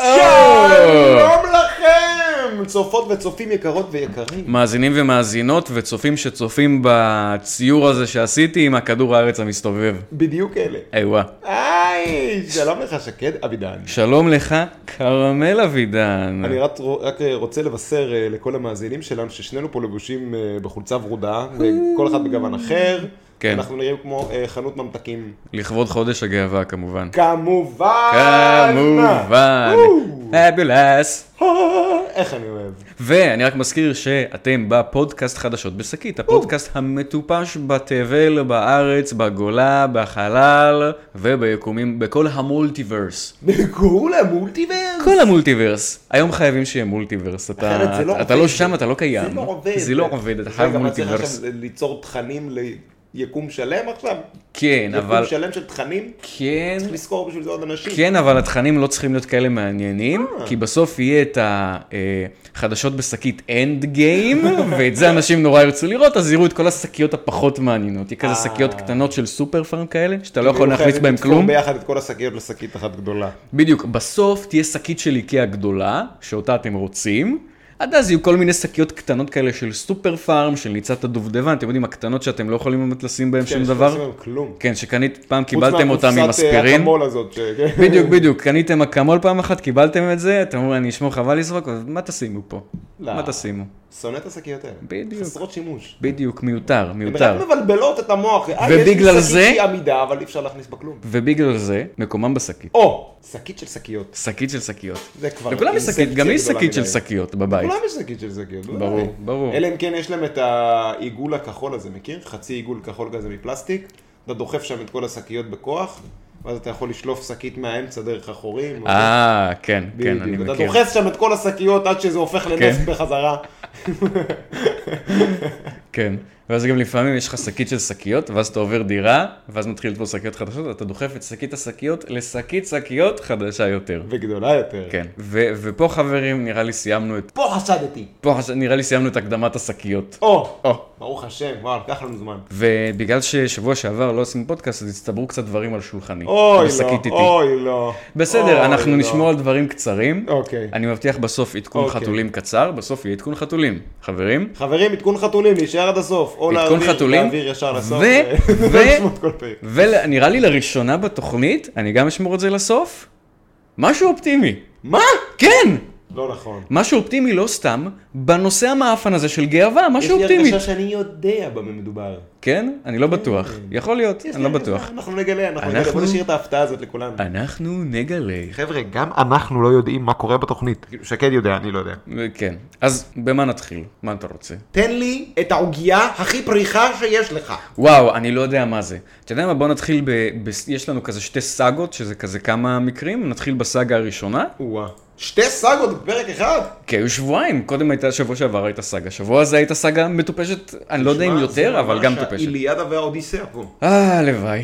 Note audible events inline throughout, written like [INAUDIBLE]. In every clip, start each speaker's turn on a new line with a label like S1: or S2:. S1: אה.
S2: צופות וצופים יקרות ויקרים.
S1: מאזינים ומאזינות וצופים שצופים בציור הזה שעשיתי עם הכדור הארץ המסתובב.
S2: בדיוק אלה.
S1: איווה.
S2: היי, שלום לך שקד אבידן.
S1: שלום לך, כרמל אבידן.
S2: אני רק, רק רוצה לבשר אה, לכל המאזינים שלנו ששנינו פה לבושים אה, בחולצה ורודה, כל אחד בגוון אחר.
S1: כן.
S2: אנחנו נראים כמו אה, חנות ממתקים.
S1: לכבוד חודש הגאווה כמובן.
S2: כמובן.
S1: כמובן.
S2: אה, וואו.
S1: פבולס.
S2: אה, [LAUGHS] איך אני אוהב.
S1: ואני רק מזכיר שאתם בפודקאסט חדשות בשקית, הפודקאסט המטופש בתבל, בארץ, בגולה, בחלל וביקומים, בכל המולטיברס.
S2: קוראים להם מולטיברס?
S1: כל המולטיברס. היום חייבים שיהיה מולטיברס. אתה,
S2: אחרת זה לא
S1: אתה,
S2: עובד.
S1: לא שם, אתה לא קיים.
S2: זה לא עובד.
S1: זה לא עובד, אתה חייב
S2: רגע, מה, צריך
S1: מולטיברס.
S2: עכשיו ליצור תכנים ליקום שלם עכשיו?
S1: כן, אבל...
S2: יקום שלם של תכנים?
S1: כן,
S2: צריך לזכור בשביל זה עוד אנשים.
S1: כן, אבל התכנים לא צריכים להיות כאלה מעניינים,
S2: אה.
S1: כי בסוף יהיה את החדשות בשקית אנד גיים, [LAUGHS] ואת זה אנשים נורא ירצו לראות, אז יראו את כל השקיות הפחות מעניינות. יהיה כזה
S2: אה.
S1: שקיות קטנות של סופר פארם כאלה, שאתה לא יכול
S2: כאילו
S1: להכניס
S2: חייבים
S1: בהן
S2: לתפור
S1: כלום. כן,
S2: ביחד את כל השקיות לשקית אחת גדולה.
S1: בדיוק, בסוף תהיה שקית של איקאה גדולה, שאותה אתם רוצים. עד אז יהיו כל מיני שקיות קטנות כאלה של סופר פארם, של ניצת הדובדבן, אתם יודעים, הקטנות שאתם לא יכולים באמת לשים בהן שום
S2: כן, שלא
S1: דבר.
S2: עושים להם כלום.
S1: כן, שקנית, פעם
S2: חוץ
S1: קיבלתם אותם עם
S2: מהקופסת, אה,
S1: אספירין.
S2: הקמול הזאת, ש- כן.
S1: בדיוק, בדיוק, קניתם אקמול פעם אחת, קיבלתם את זה, אתם אומרים, אני אשמור חבל לזרוק, אז מה תשימו פה?
S2: לא.
S1: מה תשימו?
S2: שונא את השקיות האלה.
S1: בדיוק.
S2: חסרות שימוש.
S1: בדיוק, מיותר,
S2: הן רק
S1: מיותר.
S2: מבלבלות את המוח. אה,
S1: ובגלל
S2: יש לי
S1: זה-
S2: שקית שהיא עמידה, אבל אי אפשר להכניס בה כלום.
S1: ובגלל זה, מקומם בשקית.
S2: או, שקית של שקיות.
S1: שקית של שקיות.
S2: זה כבר
S1: לכולם יש
S2: אינספציה
S1: שקית, גם לי יש
S2: גדולה
S1: שקית של
S2: מדי.
S1: שקיות בבית.
S2: כולם יש שקית של שקיות. לא
S1: ברור,
S2: יודע.
S1: ברור.
S2: אלא אם כן יש להם את העיגול הכחול הזה, מכיר? חצי עיגול כחול כזה מפלסטיק. אתה דוחף שם את כל השקיות בכוח, ואז אתה יכול לשלוף שקית מהאמצע דרך החורים. או-
S1: אה, כן, כן,
S2: בדיוק.
S1: אני
S2: אתה
S1: מכיר.
S2: דוחף שם את כל השקיות עד שזה הופך לנפט
S1: כן.
S2: בחזרה.
S1: כן. ואז גם לפעמים יש לך שקית של שקיות, ואז אתה עובר דירה, ואז מתחיל לתפוס שקיות חדשות, אתה דוחף את שקית השקיות לשקית שקיות חדשה יותר.
S2: וגדולה יותר.
S1: כן. ו- ופה, חברים, נראה לי סיימנו את...
S2: פה חשדתי.
S1: פה חש- נראה לי סיימנו את הקדמת השקיות.
S2: או,
S1: או.
S2: ברוך השם, וואו, לקח לנו זמן.
S1: ובגלל ששבוע שעבר לא עשינו פודקאסט, אז הצטברו קצת דברים על שולחני.
S2: אוי
S1: בשקית איתי.
S2: לא, אוי לא.
S1: בסדר,
S2: אוי,
S1: אנחנו
S2: לא.
S1: נשמור על דברים קצרים.
S2: אוקיי.
S1: אני מבטיח בסוף עדכון
S2: אוקיי.
S1: חתולים קצר, בסוף יהיה עדכון חתולים. חברים,
S2: חברים, עדכון חתולים, להישאר עד הסוף. או
S1: עדכון
S2: להעביר-
S1: חתולים.
S2: להעביר ישר לסוף.
S1: ו-
S2: [LAUGHS]
S1: ו-
S2: ולשמוע את כל פרק.
S1: ונראה לי לראשונה בתוכנית, אני גם אשמור את זה לסוף, משהו אופטימי.
S2: מה?
S1: כן!
S2: לא נכון.
S1: משהו אופטימי לא סתם, בנושא המאפן הזה של גאווה, משהו
S2: יש לי
S1: אופטימי.
S2: הרגשה שאני יודע במה מדובר.
S1: כן? אני לא בטוח. יכול להיות,
S2: יש
S1: אני
S2: לי
S1: לא
S2: הרגשה,
S1: בטוח.
S2: אנחנו נגלה, אנחנו נגלה.
S1: אנחנו-
S2: בוא נשאיר את ההפתעה הזאת לכולנו.
S1: אנחנו נגלה.
S2: חבר'ה, גם אנחנו לא יודעים מה קורה בתוכנית. שקד יודע, אני לא יודע.
S1: כן. אז במה נתחיל? מה אתה רוצה?
S2: תן לי את העוגיה הכי פריחה שיש לך.
S1: וואו, אני לא יודע מה זה. אתה יודע מה, בוא נתחיל ב... ב... יש לנו כזה שתי סאגות, שזה כזה כמה מקרים, נתחיל בסאגה הראשונה.
S2: וואה. שתי סאגות בפרק אחד?
S1: כי היו שבועיים, קודם הייתה, שבוע שעבר הייתה סאגה. שבוע הזה הייתה סאגה מטופשת, אני לא יודע אם
S2: שמע,
S1: יותר,
S2: זה
S1: אבל
S2: ממש
S1: גם מטופשת.
S2: האיליאדה והאודיסאה פה.
S1: אה, הלוואי.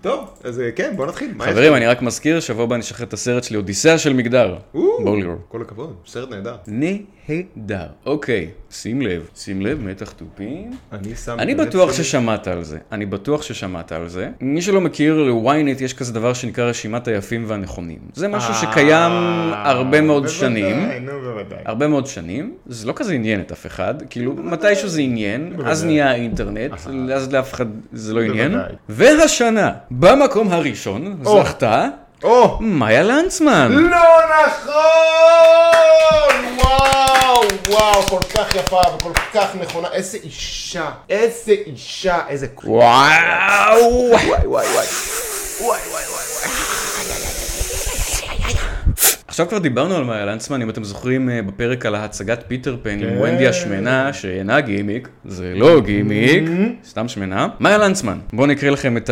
S2: טוב, אז אה, כן, בוא נתחיל. מה יש
S1: חברים,
S2: לנו?
S1: אני רק מזכיר, שבוע הבא אני אשחרר את הסרט שלי, אודיסאה של מגדר.
S2: או,
S1: בואו לראות.
S2: כל הכבוד, סרט נהדר.
S1: נהדר. אוקיי, שים לב. שים לב, מתח תופים.
S2: אני לא שם...
S1: אני
S2: את הלב
S1: בטוח
S2: שלי-
S1: ששמעת על זה, אני בטוח ששמעת על זה. מי שלא מכיר, ל-ynet יש כזה דבר שנקרא רשימת היפים והנכונים. זה משהו שקיים
S2: אה,
S1: הרבה מאוד
S2: בוודאי,
S1: שנים.
S2: נו, בוודאי.
S1: הרבה מאוד שנים, זה לא כזה עניין את אף אחד, כאילו מתישהו זה עניין, אז נהיה האינטרנט, אז לאף אחד זה לא עניין.
S2: בוודאי.
S1: והשנה, במקום הראשון,
S2: או.
S1: זכתה
S2: או!
S1: מאיה לנצמן.
S2: לא נכון! וואו, וואו, כל כך יפה וכל כך נכונה. איזה אישה, איזה אישה, איזה קול.
S1: וואו!
S2: וואי וואי וואי. וואי וואי
S1: עכשיו כבר דיברנו על מאיה לנצמן, אם אתם זוכרים אה, בפרק על ההצגת פיטר פן עם
S2: כן.
S1: ונדי השמנה, שאינה גימיק, זה לא גימיק,
S2: Mm-hmm.
S1: סתם שמנה. מאיה לנצמן, בואו נקריא לכם את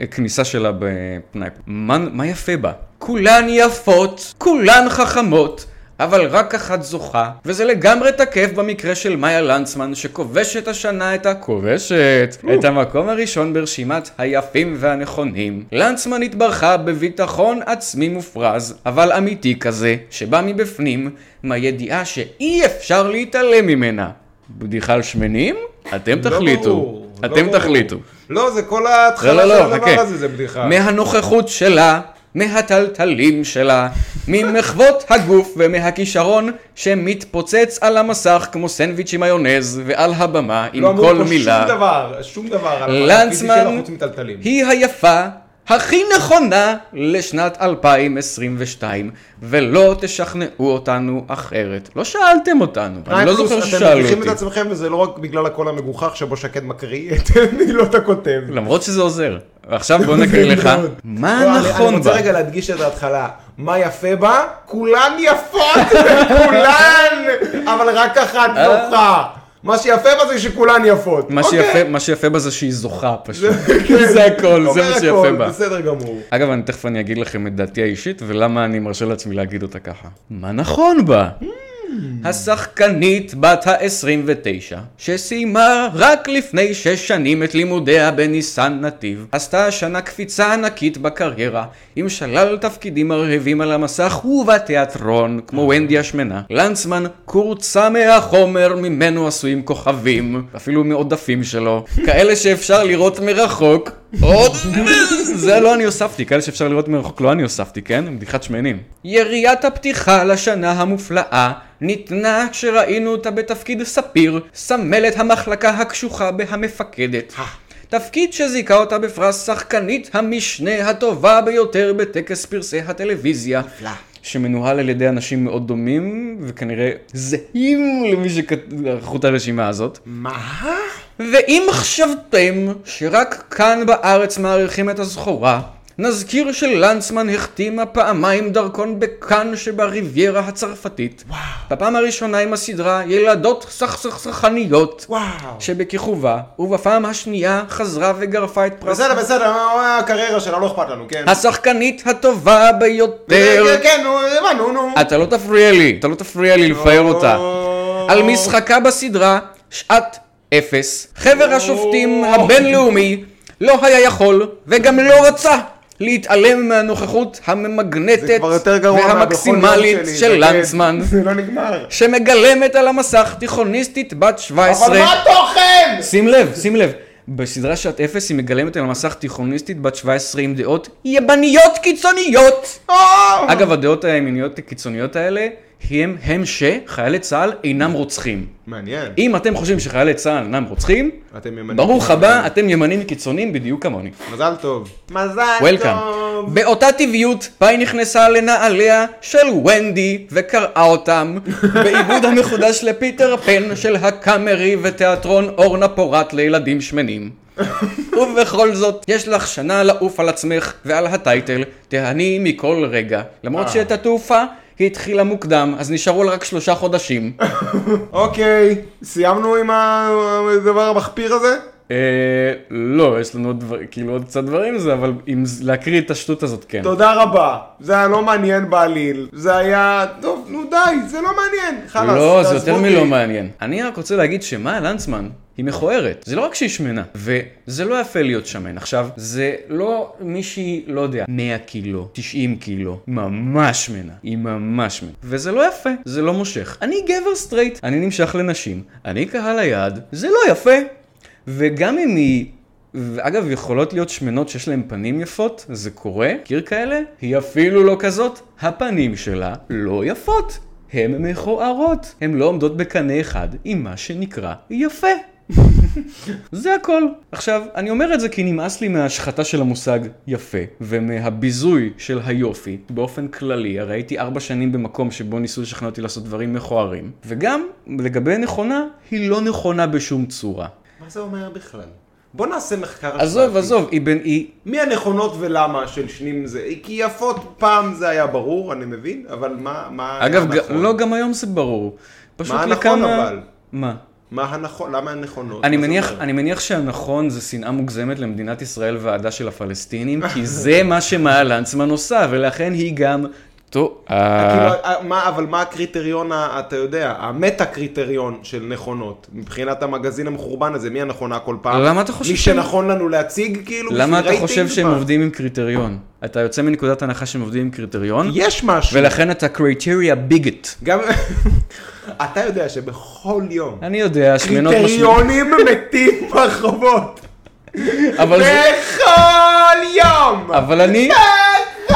S1: הכניסה שלה בפנאי. מה, מה יפה בה? כולן יפות, כולן חכמות. אבל רק אחת זוכה, וזה לגמרי תקף במקרה של מאיה לנצמן, שכובשת השנה את ה... כובשת! את המקום הראשון ברשימת היפים והנכונים. לנצמן התברכה בביטחון עצמי מופרז, אבל אמיתי כזה, שבא מבפנים, מהידיעה שאי אפשר להתעלם ממנה. בדיחה על שמנים? אתם תחליטו. אתם תחליטו.
S2: לא, זה כל ההתחלה
S1: לא, לא,
S2: של
S1: לא,
S2: הדבר
S1: חכה.
S2: הזה, זה בדיחה.
S1: מהנוכחות שלה, מהטלטלים שלה, ממחוות הגוף ומהכישרון שמתפוצץ על המסך כמו סנדוויץ' עם מיונז ועל הבמה עם
S2: לא אמרו
S1: כל
S2: פה
S1: מילה.
S2: שום דבר, שום דבר. על הפיזי שלו
S1: לנצמן
S2: חוץ מטלטלים.
S1: היא היפה הכי נכונה לשנת 2022, ולא תשכנעו אותנו אחרת. לא שאלתם אותנו, אני לא זוכר
S2: אתם
S1: ששאלו
S2: מביכים את
S1: אותי.
S2: עצמכם, וזה לא רק בגלל הקול המגוחך שבו שקד מקריא את [LAUGHS] לא- מילות הכותב.
S1: למרות שזה עוזר. ועכשיו בוא
S2: [LAUGHS]
S1: נקריא לך,
S2: לא,
S1: מה
S2: אני- אני
S1: נכון
S2: רוצה
S1: בה?
S2: רגע להדגיש את ההתחלה. מה יפה בה? כולן יפות, [LAUGHS] כולן! אבל רק אחת זוכה. מה שיפה בה זה שכולן יפות.
S1: אה? מה
S2: אוקיי.
S1: שיפה- מה שיפה בה זה שהיא זוכה פשוט.
S2: [LAUGHS] כן.
S1: [LAUGHS] זה הכל, זה
S2: אומר
S1: מה
S2: הכל,
S1: שיפה בה.
S2: בסדר גמור.
S1: אגב, אני תכף אני אגיד לכם את דעתי האישית, ולמה אני מרשה לעצמי להגיד אותה ככה. מה נכון בה?
S2: Hmm.
S1: השחקנית בת ה-29, שסיימה רק לפני שש שנים את לימודיה בניסן נתיב, עשתה השנה קפיצה ענקית בקריירה, עם שלל תפקידים מרהיבים על המסך ובתיאטרון, כמו
S2: אוקיי.
S1: ונדי השמנה. לנצמן קורצה מהחומר ממנו עשויים כוכבים, אפילו מעודפים שלו, כאלה שאפשר לראות מרחוק, עוד... זה לא אני הוספתי, כאלה שאפשר לראות מרחוק לא אני הוספתי, כן? בדיחת שמנים. יריית הפתיחה לשנה המופלאה ניתנה כשראינו אותה בתפקיד ספיר, סמלת המחלקה הקשוחה בהמפקדת. תפקיד שזיכה אותה בפרס שחקנית המשנה הטובה ביותר בטקס פרסי הטלוויזיה. שמנוהל על ידי אנשים מאוד דומים, וכנראה זהים למי שערכו את הרשימה הזאת.
S2: מה?
S1: ואם חשבתם שרק כאן בארץ מעריכים את הזכורה, נזכיר שלנצמן החתימה פעמיים דרכון בקאן שבריביירה הצרפתית. וואו. בפעם הראשונה עם הסדרה ילדות סכסכסכניות,
S2: וואו.
S1: שבכיכובה, ובפעם השנייה חזרה וגרפה את פרס
S2: בסדר, בסדר, מה- מה הקריירה שלה, לא אכפת לנו, כן.
S1: השחקנית הטובה ביותר.
S2: כן, כן, נו, הבנו, נו.
S1: אתה לא תפריע לי, אתה לא תפריע לי לפאר אותה. על משחקה בסדרה שעת אפס. חבר השופטים הבינלאומי לא היה יכול וגם לא רצה להתעלם מהנוכחות הממגנטת
S2: כבר יותר גרוע מהבכל יום
S1: והמקסימלית
S2: שלי, זה
S1: של
S2: כן.
S1: לנצמן,
S2: [LAUGHS] זה לא נגמר.
S1: שמגלמת על המסך תיכוניסטית בת 17.
S2: אבל מה התוכן?
S1: שים לב, שים לב. בסדרה שעת אפס היא מגלמת על המסך תיכוניסטית בת 17 עם דעות יבניות קיצוניות!
S2: אה,
S1: אגב, הדעות הימיניות הקיצוניות האלה הם הם שחיילי צה"ל אינם רוצחים.
S2: מעניין.
S1: אם אתם חושבים שחיילי צה"ל אינם רוצחים,
S2: אתם ימנים.
S1: ברוך הבא, אתם ימנים קיצוניים בדיוק כמוני.
S2: מזל טוב. מזל
S1: וולקאם. באותה טבעיות, פאי נכנסה לנעליה של ונדי וקראה [LAUGHS] אותם בעיבוד המחודש לפיטר פן של הקאמרי ותיאטרון אורנה פורת לילדים [LAUGHS] שמנים. ובכל זאת, יש לך שנה לעוף על עצמך ועל הטייטל, תהני מכל רגע. למרות שאת התעופה היא התחילה מוקדם, אז נשארו לה רק שלושה חודשים.
S2: אוקיי, סיימנו עם הדבר המחפיר הזה?
S1: אה, לא, יש לנו עוד דבר, כאילו עוד קצת דברים זה, אבל אם ז- להקריא את השטות הזאת, כן.
S2: תודה רבה. זה היה לא מעניין בעליל. זה היה... טוב, נו די, זה לא מעניין. חלאס,
S1: לא, זה
S2: תעזבו
S1: יותר
S2: אותי.
S1: מלא מעניין. אני רק רוצה להגיד שמאיה לנצמן היא מכוערת. זה לא רק שהיא שמנה, וזה לא יפה להיות שמן. עכשיו, זה לא מישהי, לא יודע, 100 קילו, 90 קילו, ממש שמנה. היא ממש שמנה. וזה לא יפה, זה לא מושך. אני גבר סטרייט, אני נמשך לנשים, אני קהל היעד, זה לא יפה. וגם אם היא... ואגב, יכולות להיות שמנות שיש להן פנים יפות, זה קורה, קיר כאלה, היא אפילו לא כזאת, הפנים שלה לא יפות, הן מכוערות, הן לא עומדות בקנה אחד עם מה שנקרא יפה. [LAUGHS] זה הכל. עכשיו, אני אומר את זה כי נמאס לי מההשחתה של המושג יפה, ומהביזוי של היופי, באופן כללי, הרי הייתי ארבע שנים במקום שבו ניסו לשכנע אותי לעשות דברים מכוערים, וגם, לגבי נכונה, היא לא נכונה בשום צורה.
S2: מה זה אומר בכלל? בוא נעשה מחקר.
S1: עזוב,
S2: השוואתי.
S1: עזוב, היא בין... היא...
S2: מי הנכונות ולמה של שנים זה? כי יפות פעם זה היה ברור, אני מבין, אבל מה... מה
S1: אגב,
S2: היה
S1: ג-
S2: נכון?
S1: לא, גם היום זה ברור. פשוט
S2: מה הנכון
S1: לכמה-
S2: אבל?
S1: מה?
S2: מה הנכון? למה הנכונות?
S1: אני
S2: מה זה
S1: מניח,
S2: אומר?
S1: אני מניח שהנכון זה שנאה מוגזמת למדינת ישראל והעדה של הפלסטינים, כי
S2: [LAUGHS]
S1: זה מה שמאיה לנצמן עושה, ולכן היא גם טועה.
S2: כאילו, אה, מה, אבל מה הקריטריון, ה- אתה יודע, המטה קריטריון של נכונות, מבחינת המגזין המחורבן הזה, מי הנכונה כל פעם?
S1: למה אתה חושב
S2: אה, מי
S1: שהם-
S2: שנכון לנו להציג, כאילו,
S1: למה
S2: בשביל
S1: אתה חושב
S2: רייטינג?
S1: שהם
S2: מה?
S1: עובדים עם קריטריון? אתה יוצא מנקודת הנחה שהם עובדים עם קריטריון,
S2: יש משהו.
S1: ולכן אתה קריטריה ביגט.
S2: גם... [LAUGHS] אתה יודע שבכל יום,
S1: אני יודע, שמנות משמעות,
S2: קריטריונים מתים ברחובות.
S1: אבל זה-
S2: בכל יום!
S1: אבל אני...
S2: בכל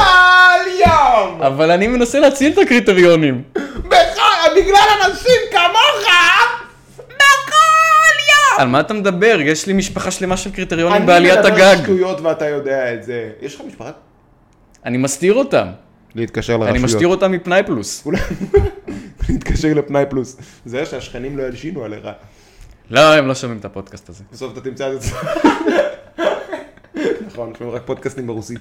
S2: יום!
S1: אבל אני מנסה להציל את הקריטריונים.
S2: בכל- בגלל אנשים כמוך! בכל יום!
S1: על מה אתה מדבר? יש לי משפחה שלמה של קריטריונים
S2: אני
S1: בעליית
S2: מדבר
S1: הגג.
S2: שטויות ואתה יודע את זה. יש לך משפחה?
S1: אני מסתיר אותם.
S2: להתקשר
S1: אני מסתיר אותם מפנאי פלוס.
S2: כולם- [LAUGHS] להתקשר לפנאי פלוס. זה היה שהשכנים לא ילשינו עליך.
S1: לא, הם לא שומעים את הפודקאסט הזה.
S2: בסוף אתה תמצא את זה. [LAUGHS] נכון, שומעים רק פודקאסטים ברוסית.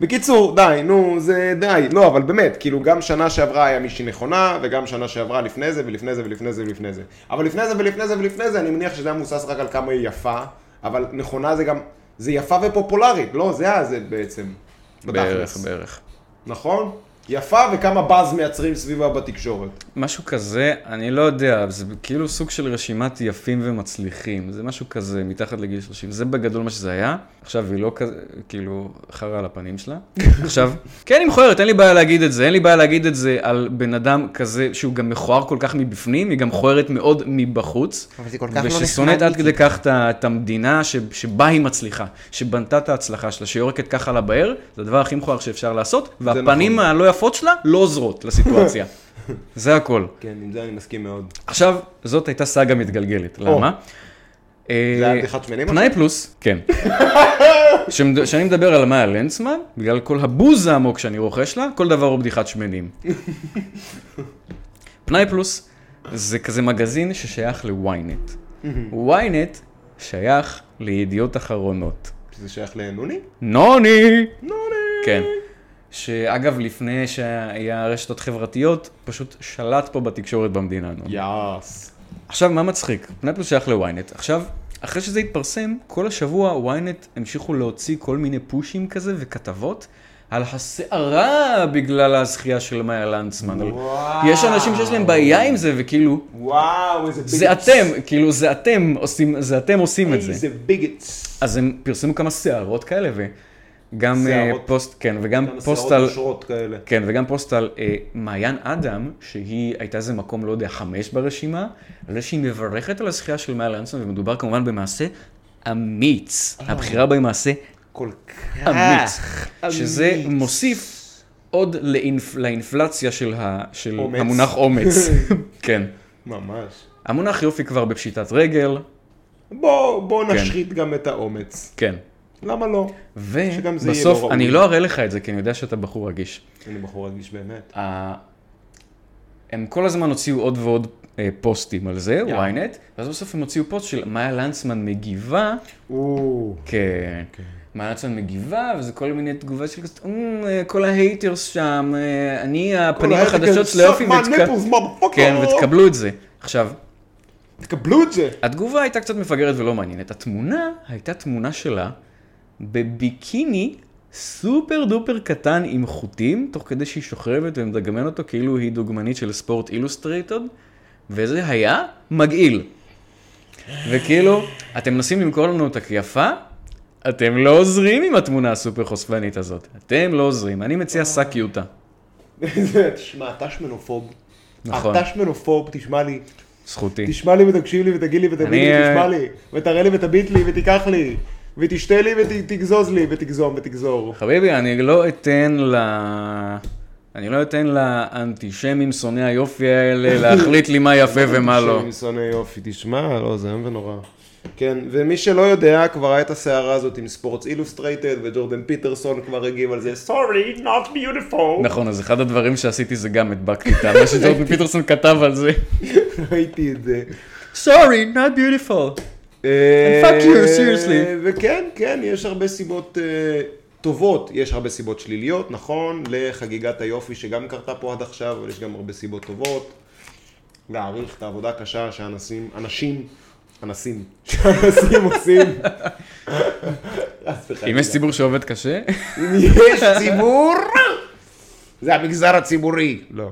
S2: בקיצור, די, נו, זה די. לא, אבל באמת, כאילו, גם שנה שעברה היה מישהי נכונה, וגם שנה שעברה לפני זה, ולפני זה, ולפני זה, ולפני זה. אבל לפני זה, ולפני זה, ולפני זה, אני מניח שזה היה מבוסס רק על כמה היא יפה, אבל נכונה זה גם, זה יפה ופופולרית, לא, זה היה זה בעצם.
S1: בערך,
S2: בתכלס.
S1: בערך.
S2: נכון? יפה וכמה באז מייצרים סביבה בתקשורת.
S1: משהו כזה, אני לא יודע, זה כאילו סוג של רשימת יפים ומצליחים, זה משהו כזה, מתחת לגיל 30, זה בגדול מה שזה היה. עכשיו היא לא כזה, כאילו, חרא על
S2: [LAUGHS]
S1: הפנים שלה. עכשיו, כן, היא מכוערת, אין לי בעיה להגיד את זה, אין לי בעיה להגיד את זה על בן אדם כזה שהוא גם מכוער כל כך מבפנים, היא גם מכוערת מאוד מבחוץ.
S2: אבל זה כל לא
S1: וששונאת עד כדי כך את ה- את המדינה ש- שבה היא מצליחה, שבנתה את ההצלחה שלה, שיורקת ככה לבאר, זה הדבר הכי מכוער שאפשר לעשות, והפנים
S2: נכון.
S1: הלא יפות שלה לא
S2: [LAUGHS]
S1: עוזרות לסיטואציה. זה הכל.
S2: כן, עם זה אני מסכים מאוד.
S1: עכשיו, זאת הייתה סאגה מתגלגלת, למה? אה,
S2: זה היה בדיחת שמנים?
S1: פנאי
S2: [LAUGHS]
S1: פלוס, כן. שמד- כשאני מדבר על מאיה לנצמן, בגלל כל הבוז העמוק שאני רוכש לה, כל דבר הוא בדיחת
S2: [LAUGHS]
S1: שמנים. פנאי פלוס זה כזה מגזין ששייך ל-ynet. ynet שייך לידיעות אחרונות.
S2: זה שייך לנוני?
S1: נוני!
S2: נוני!
S1: כן. שאגב, לפני שהיה רשתות חברתיות, פשוט שלט פה בתקשורת במדינה. נוני.
S2: יאס.
S1: עכשיו, מה מצחיק? פנאפלוס שייך ל-ynet. עכשיו, אחרי שזה התפרסם, כל השבוע ynet המשיכו להוציא כל מיני פושים כזה וכתבות על הסערה בגלל הזכייה של מאיה לנצמן. על-
S2: וואו.
S1: יש אנשים שיש להם בעיה עם זה, וכאילו,
S2: וואו, איזה ביגטס.
S1: זה אתם, כאילו, זה אתם עושים, זה אתם עושים את זה.
S2: איזה ביגטס.
S1: אז הם פרסמו כמה סערות כאלה, וגם אה,
S2: סערות.
S1: פוסט, כן, וגם
S2: כמה
S1: פוסט
S2: שערות
S1: על...
S2: נושרות כאלה.
S1: כן, וגם פוסט על אה, מעיין אדם, שהיא הייתה איזה מקום, לא יודע, חמש ברשימה, על זה שהיא מברכת על הזכייה של מעל אנסון, ומדובר כמובן במעשה אמיץ.
S2: אה.
S1: הבחירה בה היא מעשה
S2: כל כך.
S1: אמיץ. שזה מוסיף עוד לאינפ... לאינפלציה של, ה... של
S2: אומץ. [LAUGHS]
S1: המונח אומץ. כן.
S2: ממש.
S1: המונח יופי כבר בפשיטת רגל,
S2: בוא, בוא נשחית גם את האומץ.
S1: כן.
S2: למה לא? שגם זה יהיה לא
S1: ובסוף,
S2: ראוי.
S1: אני לא אראה לך את זה, כי אני יודע שאתה בחור רגיש.
S2: אני בחור רגיש באמת.
S1: ה- הם כל הזמן הוציאו עוד ועוד אה, פוסטים על זה, ynet, ואז בסוף הם הוציאו פוסט של מאיה לנצמן מגיבה,
S2: או.
S1: כן, מאיה לנצמן מגיבה, וזה כל מיני תגובות של כזה, "אמ, אה, כל ההייטרס שם, אה, אני הפנים החדשות של היופי, ותק- כן,
S2: לא."
S1: ותקבלו את זה. עכשיו,
S2: ותקבלו את זה. [LAUGHS]
S1: התגובה הייתה קצת מפגרת ולא מעניינת. התמונה הייתה תמונה שלה בביקיני סופר דופר קטן עם חוטים, תוך כדי שהיא שוכבת ומדגמן אותו כאילו היא דוגמנית של ספורט אילוסטרייטד, וזה היה מגעיל. וכאילו, אתם מנסים למכור לנו אותה כיפה, אתם לא עוזרים עם התמונה הסופר חושפנית הזאת. אתם לא עוזרים. אני מציע שק יוטה.
S2: זה, תשמע, אתה שמנופוב.
S1: נכון.
S2: אתה שמנופוב, תשמע לי.
S1: זכותי.
S2: תשמע לי ותקשיב לי ותגיד לי ותבין לי
S1: אני, אה,
S2: ותשמע לי. ותראה לי ותביט לי ותיקח לי. ותשתה לי ותגזוז לי ותגזום ותגזור.
S1: חביבי, אני לא אתן ל... אני לא אתן לאנטישמים שונאי היופי [LAUGHS] האלה להחליט לי מה יפה ומה לא.
S2: שם שונא יופי, תשמע, לא, זה איום ונורא. כן, ומי שלא יודע, כבר הייתה הסערה הזאת עם ספורטס אילוסטרייטד, וג'ורדן פיטרסון כבר הגיב על זה, סורי, not beautiful.
S1: נכון, אז אחד הדברים שעשיתי זה גם הדבקתי את מה [LAUGHS] שג'ורדן פיטרסון כתב על זה.
S2: ראיתי את זה.
S1: Sorry, not beautiful.
S2: And
S1: fuck you, seriously.
S2: אה, וכן, כן, יש הרבה סיבות אה, טובות, יש הרבה סיבות שליליות, נכון, לחגיגת היופי שגם קרתה פה עד עכשיו, אבל יש גם הרבה סיבות טובות. להעריך את העבודה הקשה שאנשים, אנשים, אנסים, שאנשים עושים. חס וחלילה.
S1: אם יש ציבור שעובד קשה,
S2: לא אם יש ציבור, זה המגזר הציבורי. לא.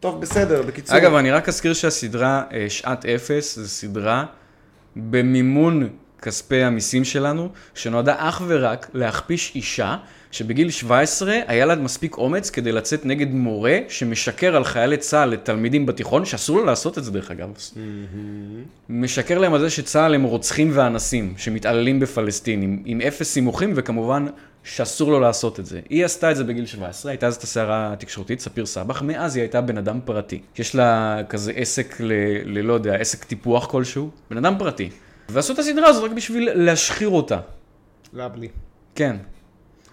S2: טוב, בסדר, בקיצור.
S1: אגב, אני רק אזכיר שהסדרה אה, שעת אפס זו סדרה במימון כספי המיסים שלנו, שנועדה אך ורק להכפיש אישה שבגיל 17 היה לה מספיק אומץ כדי לצאת נגד מורה שמשקר על חיילי צה"ל לתלמידים בתיכון, שאסור לו לעשות את זה דרך אגב. משקר להם על זה שצה"ל הם רוצחים ואנסים, שמתעללים בפלסטינים, עם אפס סימוכים וכמובן שאסור לו לעשות את זה. היא עשתה את זה בגיל 17, הייתה אז את הסערה התקשורתית, ספיר סבח, מאז היא הייתה בן אדם פרטי. יש לה כזה עסק ל... ללא יודע, עסק טיפוח כלשהו, בן אדם פרטי. ועשו את הסדרה הזאת רק בשביל להשחיר אותה.
S2: לא, בלי.
S1: כן.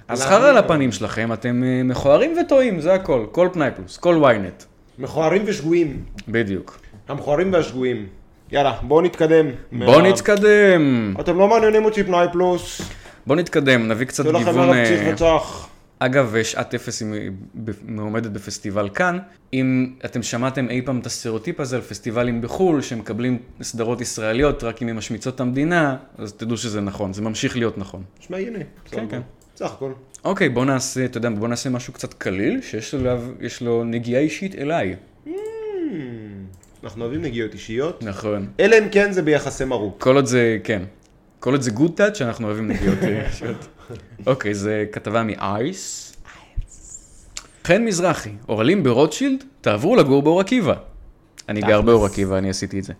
S1: אז
S2: למה?
S1: חרא על הפנים שלכם, אתם אה, מכוערים וטועים, זה הכל. כל פנאי פלוס, כל ynet.
S2: מכוערים ושגויים.
S1: בדיוק.
S2: המכוערים והשגויים. יאללה, בואו נתקדם.
S1: בואו
S2: מה-
S1: נתקדם.
S2: אתם לא מעניינים אותי פנאי פלוס.
S1: בואו נתקדם, נביא קצת
S2: זה לכם
S1: גיוון...
S2: ערב
S1: אה,
S2: פסיך וצח.
S1: אגב, שעת אפס היא ב- מועמדת בפסטיבל כאן. אם אתם שמעתם אי פעם את הסטריאוטיפ הזה על פסטיבלים בחו"ל, שמקבלים סדרות ישראליות רק אם הן משמיצות את המדינה, אז תדעו שזה נכון, זה ממשיך להיות נכון.
S2: נשמע הנה. בסדר.
S1: כן.
S2: סך הכל.
S1: אוקיי, בוא נעשה, אתה יודע, בוא נעשה משהו קצת קליל, שיש לו, יש לו נגיעה אישית אליי.
S2: Hmm, אנחנו אוהבים נגיעות אישיות.
S1: נכון.
S2: אלא אם כן זה ביחסי מרות.
S1: כל עוד זה, כן. כל עוד זה גוד טאץ', שאנחנו אוהבים [LAUGHS] נגיעות אישיות. אוקיי, זה כתבה מ-Ice. חן מזרחי, אוהלים ברוטשילד, תעברו לגור באור עקיבא. אני גר באור עקיבא, אני עשיתי את זה.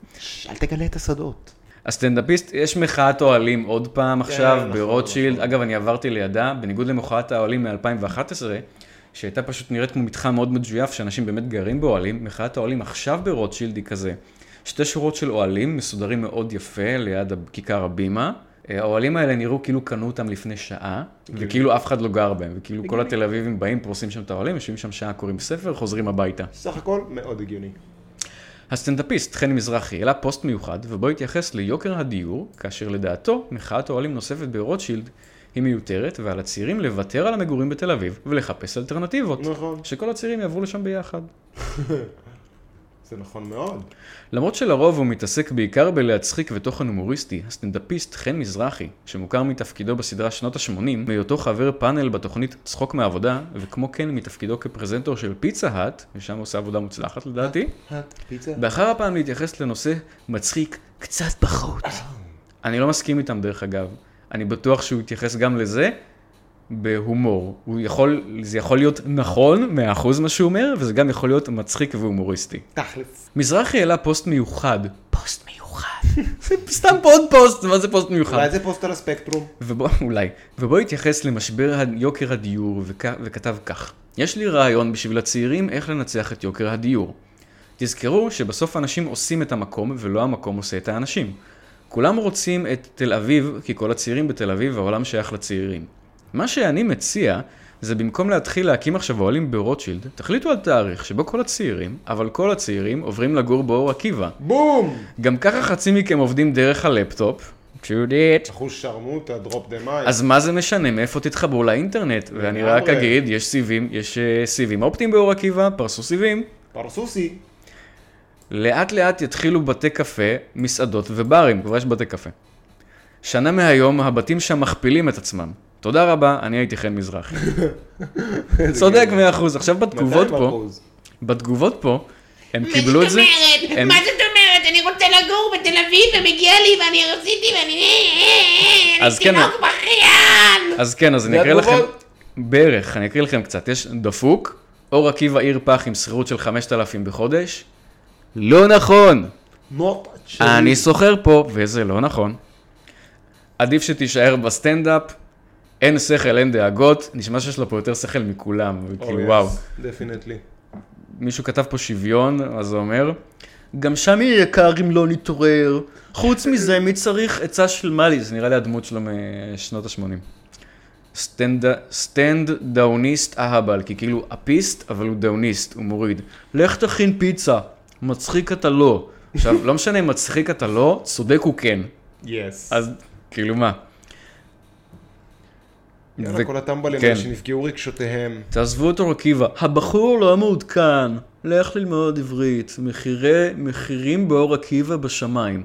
S2: אל תגלה את השדות.
S1: הסטנדאפיסט, יש מחאת אוהלים עוד פעם עכשיו
S2: נכון,
S1: ברוטשילד. אגב, אני עברתי לידה, בניגוד למחאת האוהלים מ-2011, שהייתה פשוט נראית כמו מתחם מאוד מג'ויף, שאנשים באמת גרים באוהלים, מחאת האוהלים עכשיו ברוטשילד היא כזה. שתי שורות של אוהלים מסודרים מאוד יפה ליד כיכר הבימה. אה, האוהלים האלה נראו כאילו קנו אותם לפני שעה, וכאילו אף אחד לא גר בהם, וכאילו כל התל אביבים באים, פורסים שם את האוהלים, יושבים שם שעה, קוראים ספר, חוזרים הביתה.
S2: סך הכל מאוד הגיוני.
S1: הסטנדאפיסט חן מזרחי העלה פוסט מיוחד ובו התייחס ליוקר הדיור, כאשר לדעתו מחאת אוהלים נוספת ברוטשילד היא מיותרת ועל הצעירים לוותר על המגורים בתל אביב ולחפש אלטרנטיבות.
S2: נכון.
S1: שכל הצעירים יעברו לשם ביחד.
S2: זה נכון מאוד.
S1: למרות שלרוב הוא מתעסק בעיקר בלהצחיק ותוכן הומוריסטי, הסטנדאפיסט חן מזרחי, שמוכר מתפקידו בסדרה שנות ה-80, מהיותו חבר פאנל בתוכנית צחוק מעבודה, וכמו כן מתפקידו כפרזנטור של פיצה האט, ושם הוא עושה עבודה מוצלחת לדעתי,
S2: פיצה.
S1: באחר הפעם להתייחס לנושא מצחיק קצת פחות. אני לא מסכים איתם דרך אגב. אני בטוח שהוא יתייחס גם לזה בהומור. הוא יכול, זה יכול להיות נכון 100% מה שהוא אומר, וזה גם יכול להיות מצחיק והומוריסטי.
S2: תכלס.
S1: מזרחי העלה פוסט מיוחד. פוסט מיוחד. זה [LAUGHS] סתם עוד פוסט, מה זה פוסט מיוחד?
S2: אולי זה פוסט על הספקטרום.
S1: ובו, [LAUGHS] אולי, ובו התייחס למשבר ה- יוקר הדיור וכ... וכתב כך: יש לי רעיון בשביל הצעירים איך לנצח את יוקר הדיור. תזכרו שבסוף האנשים עושים את המקום ולא המקום עושה את האנשים. כולם רוצים את תל אביב כי כל הצעירים בתל אביב והעולם שייך לצעירים. מה שאני מציע זה במקום להתחיל להקים עכשיו אוהלים ברוטשילד, תחליטו על תאריך שבו כל הצעירים, אבל כל הצעירים עוברים לגור באור עקיבא.
S2: בום!
S1: גם ככה חצי מכם עובדים דרך הלפטופ. True that.
S2: אחוז שרמוטה, דרופ דה מייק.
S1: אז מה זה משנה, מאיפה תתחברו לאינטרנט? ואני רק
S2: לגמרי.
S1: אגיד, יש סיבים, יש אה, סיבים אופטיים באור עקיבא, פרסו סיבים. [LAUGHS]
S2: פרסוסי.
S1: לאט לאט יתחילו בתי קפה, מסעדות וברים, כבר יש בתי קפה. שנה מהיום, הבתים שם מכפילים את עצמם. תודה רבה, אני הייתי חן מזרחי. צודק מאה אחוז, עכשיו בתגובות פה,
S2: 200%.
S1: בתגובות פה, הם קיבלו את זה, הם-
S3: מה זאת אומרת? אני רוצה לגור בתל אביב ומגיע לי ואני רציתי ואני...
S1: אז
S3: אז
S1: כן,
S3: כן. אני תינוק בכיין!
S1: אז כן, אז אני
S2: זה
S1: אקריא לכם,
S2: התגובות?
S1: בערך, אני אקריא לכם קצת. יש דפוק, אור עקיבא עיר פח עם שכירות של 5,000 בחודש. לא נכון,
S2: נוט שלי.
S1: אני סוחר פה, וזה לא נכון. עדיף שתישאר בסטנדאפ, אין שכל, אין דאגות, נשמע שיש לו פה יותר שכל מכולם,
S2: Oh,
S1: כאילו
S2: yes,
S1: וואו.
S2: דפינטלי.
S1: מישהו כתב פה שוויון, אז הוא אומר, גם שם יהיה יקר אם לא נתעורר. חוץ מזה, מי צריך עצה של מאלי? זה נראה לי הדמות שלו משנות ה-80. סטנד, סטנד דאוניסט אהבל, כי כאילו אפיסט, אבל הוא דאוניסט, הוא מוריד. לך תכין פיצה, מצחיק אתה לא. עכשיו, לא משנה אם מצחיק אתה לא, צודק הוא כן.
S2: יס.
S1: אז כאילו מה?
S2: יאללה, כל הטמבלים
S1: כן.
S2: האלה שנפגעו רגשותיהם.
S1: תעזבו את אור עקיבא. הבחור לא מעודכן, לך ללמוד עברית. מחירי, מחירים באור עקיבא בשמיים.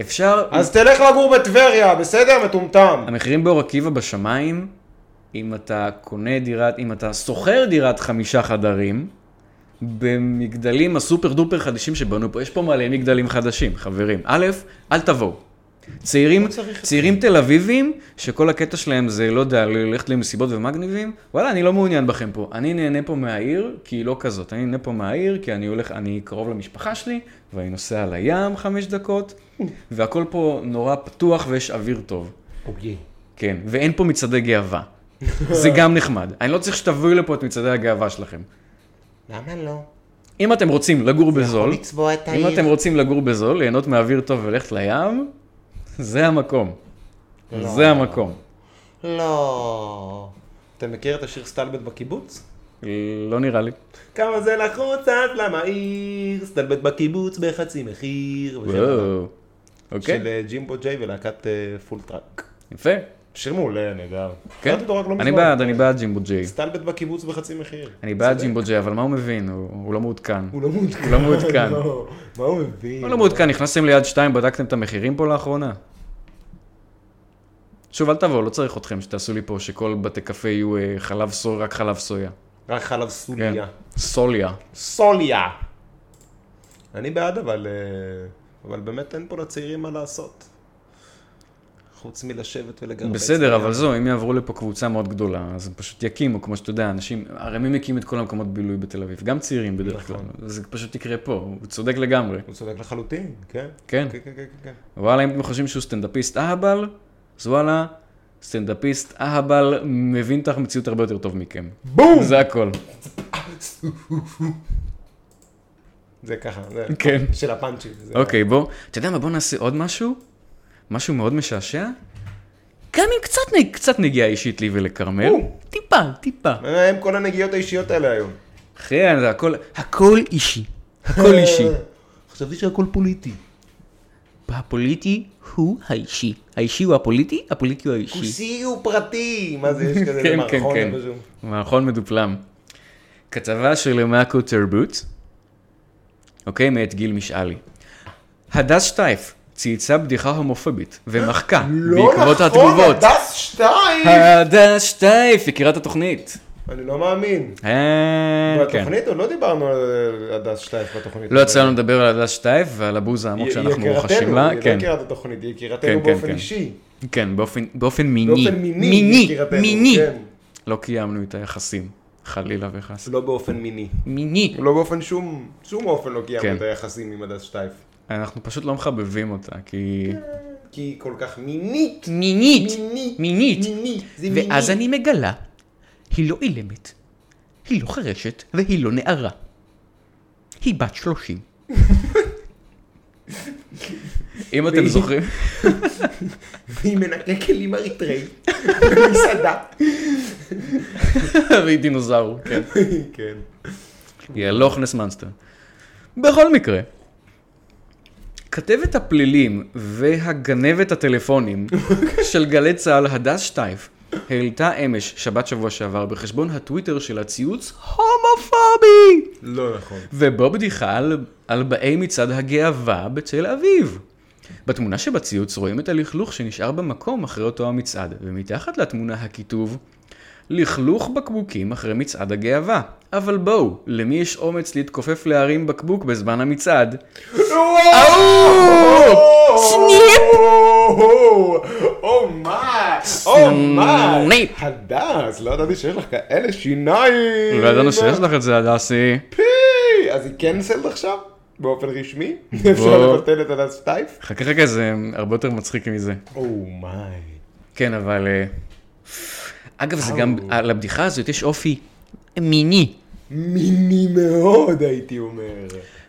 S1: אפשר...
S2: אז תלך לגור בטבריה, בסדר? מטומטם.
S1: המחירים באור עקיבא בשמיים, אם אתה קונה דירת, אם אתה שוכר דירת חמישה חדרים, במגדלים הסופר דופר חדשים שבנו פה, יש פה מלא מגדלים חדשים, חברים. א', אל תבואו. צעירים, צעירים תל אביבים, שכל הקטע שלהם זה, לא יודע, ללכת למסיבות ומגניבים, וואלה, אני לא מעוניין בכם פה. אני נהנה פה מהעיר, כי היא לא כזאת. אני נהנה פה מהעיר, כי אני הולך, אני קרוב למשפחה שלי, ואני נוסע לים חמש דקות, והכל פה נורא פתוח ויש אוויר טוב. כן, ואין פה מצעדי גאווה. זה גם נחמד. אני לא צריך שתביאו לפה את מצעדי הגאווה שלכם.
S4: למה לא?
S1: אם אתם רוצים לגור בזול,
S4: לצבוע את
S1: לא. אם
S4: העיר.
S1: אתם רוצים לגור בזול, ליהנות מאוויר טוב וללכת לים, זה המקום. זה המקום.
S4: לא.
S2: אתה מכיר את השיר סטלבט בקיבוץ?
S1: לא נראה לי.
S2: כמה זה לחוץ עד למהיר, סטלבט בקיבוץ בחצי
S1: אה,
S2: מחיר. וכן הלאה.
S1: וואו. אוקיי,
S2: של אה, ג'ימבו ג'יי ולהקת אה, פול טראק.
S1: יפה.
S2: שיר מעולה, נהדר.
S1: כן.
S2: קראתי אותו רק לא
S1: אני
S2: מזמן.
S1: בעד, אני בעד ג'ימבו ג'יי.
S2: סטלבט בקיבוץ בחצי מחיר.
S1: אני בעד
S2: צודק.
S1: ג'ימבו ג'יי, אבל מה הוא מבין? הוא הוא לא מעודכן.
S2: הוא לא מעודכן.
S1: הוא לא מעודכן.
S2: [LAUGHS] לא, מה הוא מבין?
S1: לא מעודכן, נכנסתם ליד שתיים, בדקתם את המחירים פה לאחרונה? שוב, אל תבואו, לא צריך אתכם שתעשו לי פה שכל בתי קפה יהיו אה, חלב סוי, רק חלב סויה.
S2: רק חלב
S1: כן.
S2: סוליה.
S1: סוליה.
S2: לא, סוליה! אני בעד, אבל... אה, אבל באמת אין פה לצעירים מה לעשות. חוץ מלשבת ולגרבץ.
S1: בסדר,
S2: לא.
S1: אבל זו, אם יעברו לפה קבוצה מאוד גדולה, אז הם פשוט יקימו, כמו שאתה יודע, אנשים, הרי מי מקים את כל המקומות בילוי בתל אביב? גם צעירים בדרך כלל.
S2: נכון.
S1: זה פשוט יקרה פה, הוא צודק לגמרי.
S2: הוא צודק לחלוטין, כן?
S1: כן.
S2: כן, כן, כן, כן.
S1: וואלה, אם אתם חושבים שהוא סטנדאפיסט אהבל, אז וואלה, סטנדאפיסט אהבל מבין את המציאות הרבה יותר טוב מכם.
S2: בום!
S1: זה הכל.
S2: זה ככה, זה...
S1: כן.
S2: של הפאנצ'ים. זה-
S1: אוקיי, בוא, אתה יודע מה, בוא נעשה עוד משהו? משהו מאוד משעשע? גם אם קצת, נ- קצת נגיעה אישית לי ולכרמל.
S2: או.
S1: טיפה, טיפה.
S2: מה הם כל הנגיעות האישיות האלה היום?
S1: אחי, זה הכל, הכל אישי. הכל אישי.
S2: אה, חשבתי שהכל פוליטי.
S5: הפוליטי הוא האישי. האישי הוא הפוליטי, הפוליטי הוא האישי.
S2: כוסי הוא פרטי! מה זה,
S1: [LAUGHS]
S2: יש [LAUGHS] כזה נכון?
S1: כן, כן,
S2: מערכון
S1: כן.
S2: איפשהו?
S1: מערכון מדופלם. כתבה של מאקו תרבות, אוקיי, מאת גיל משאלי. הדס שטייף צייצה בדיחה הומופובית ומחקה
S2: [GASPS]
S1: לא בעקבות התגובות.
S2: לא נכון,
S1: אה.
S2: הדס שתיים!
S1: הדס שטייף, יקירת התוכנית.
S2: אני לא מאמין.
S1: אה, כן.
S2: בתוכנית עוד לא דיברנו על אה, הדס שטייף בתוכנית.
S1: לא יצא לנו לדבר על הדס שטייף ועל הבוז העמוק
S2: היא-
S1: שאנחנו
S2: היא
S1: חשים
S2: הכרתנו,
S1: לה.
S2: היא לא
S1: כן,
S2: הכירה את התוכנית, היא
S1: כן,
S2: הכירתנו
S1: כן,
S2: באופן
S1: כן.
S2: אישי.
S1: כן, באופן- באופן מיני.
S2: באופן מיני. היא
S1: מיני,
S2: הכירתנו,
S1: מיני.
S2: כן.
S1: לא קיימנו את היחסים, חלילה וחס.
S2: לא באופן מיני.
S1: מיני.
S2: לא באופן שום, שום אופן לא
S1: כן.
S2: קיימנו את היחסים עם הדס שטייף.
S1: אנחנו פשוט לא מחבבים אותה, כי...
S2: כי היא כל כך מינית.
S5: מינית.
S2: מינית.
S5: מינית.
S2: מינית. זה מינית.
S5: ואז אני מגלה, היא לא אילמת, היא לא חרשת והיא לא נערה. היא בת שלושים.
S1: אם אתם זוכרים... [LAUGHS]
S2: היא מנקה כלים [LAUGHS] אריתראי. במסעדה.
S1: והיא דינוזאור, כן.
S2: [LAUGHS] כן.
S1: היא הלוכנס מנסטר. בכל מקרה, כתבת הפלילים
S2: [LAUGHS]
S1: והגנבת הטלפונים של גלי צה"ל, הדס שטייף, העלתה אמש, שבת שבוע שעבר, בחשבון הטוויטר שלה ציוץ הומופובי!
S2: לא נכון.
S1: ובו בדיחה על, על באי מצעד הגאווה בתל אביב. בתמונה שבציוץ רואים את הלכלוך שנשאר במקום אחרי אותו המצעד, ומתחת לתמונה הכיתוב לכלוך בקבוקים אחרי מצעד הגאווה. אבל בואו, למי יש אומץ להתכופף להרים בקבוק בזמן המצעד?
S2: סניפ! אומה! אומה!
S1: סניפ.
S2: הדס, לא ידעתי שיש לך כאלה שיניים!
S1: לא ידענו שיש לך את זה, הדסי.
S2: פי! אז היא קנסלד עכשיו? באופן רשמי? אפשר
S1: וואו.
S2: לבטל את הדס טייף?
S1: חכה חכה, זה הרבה יותר מצחיק מזה.
S2: אומיי.
S1: כן, אבל... אה, אגב, זה גם,
S2: אאו.
S1: על הבדיחה הזאת יש אופי מיני.
S2: מיני מאוד הייתי אומר.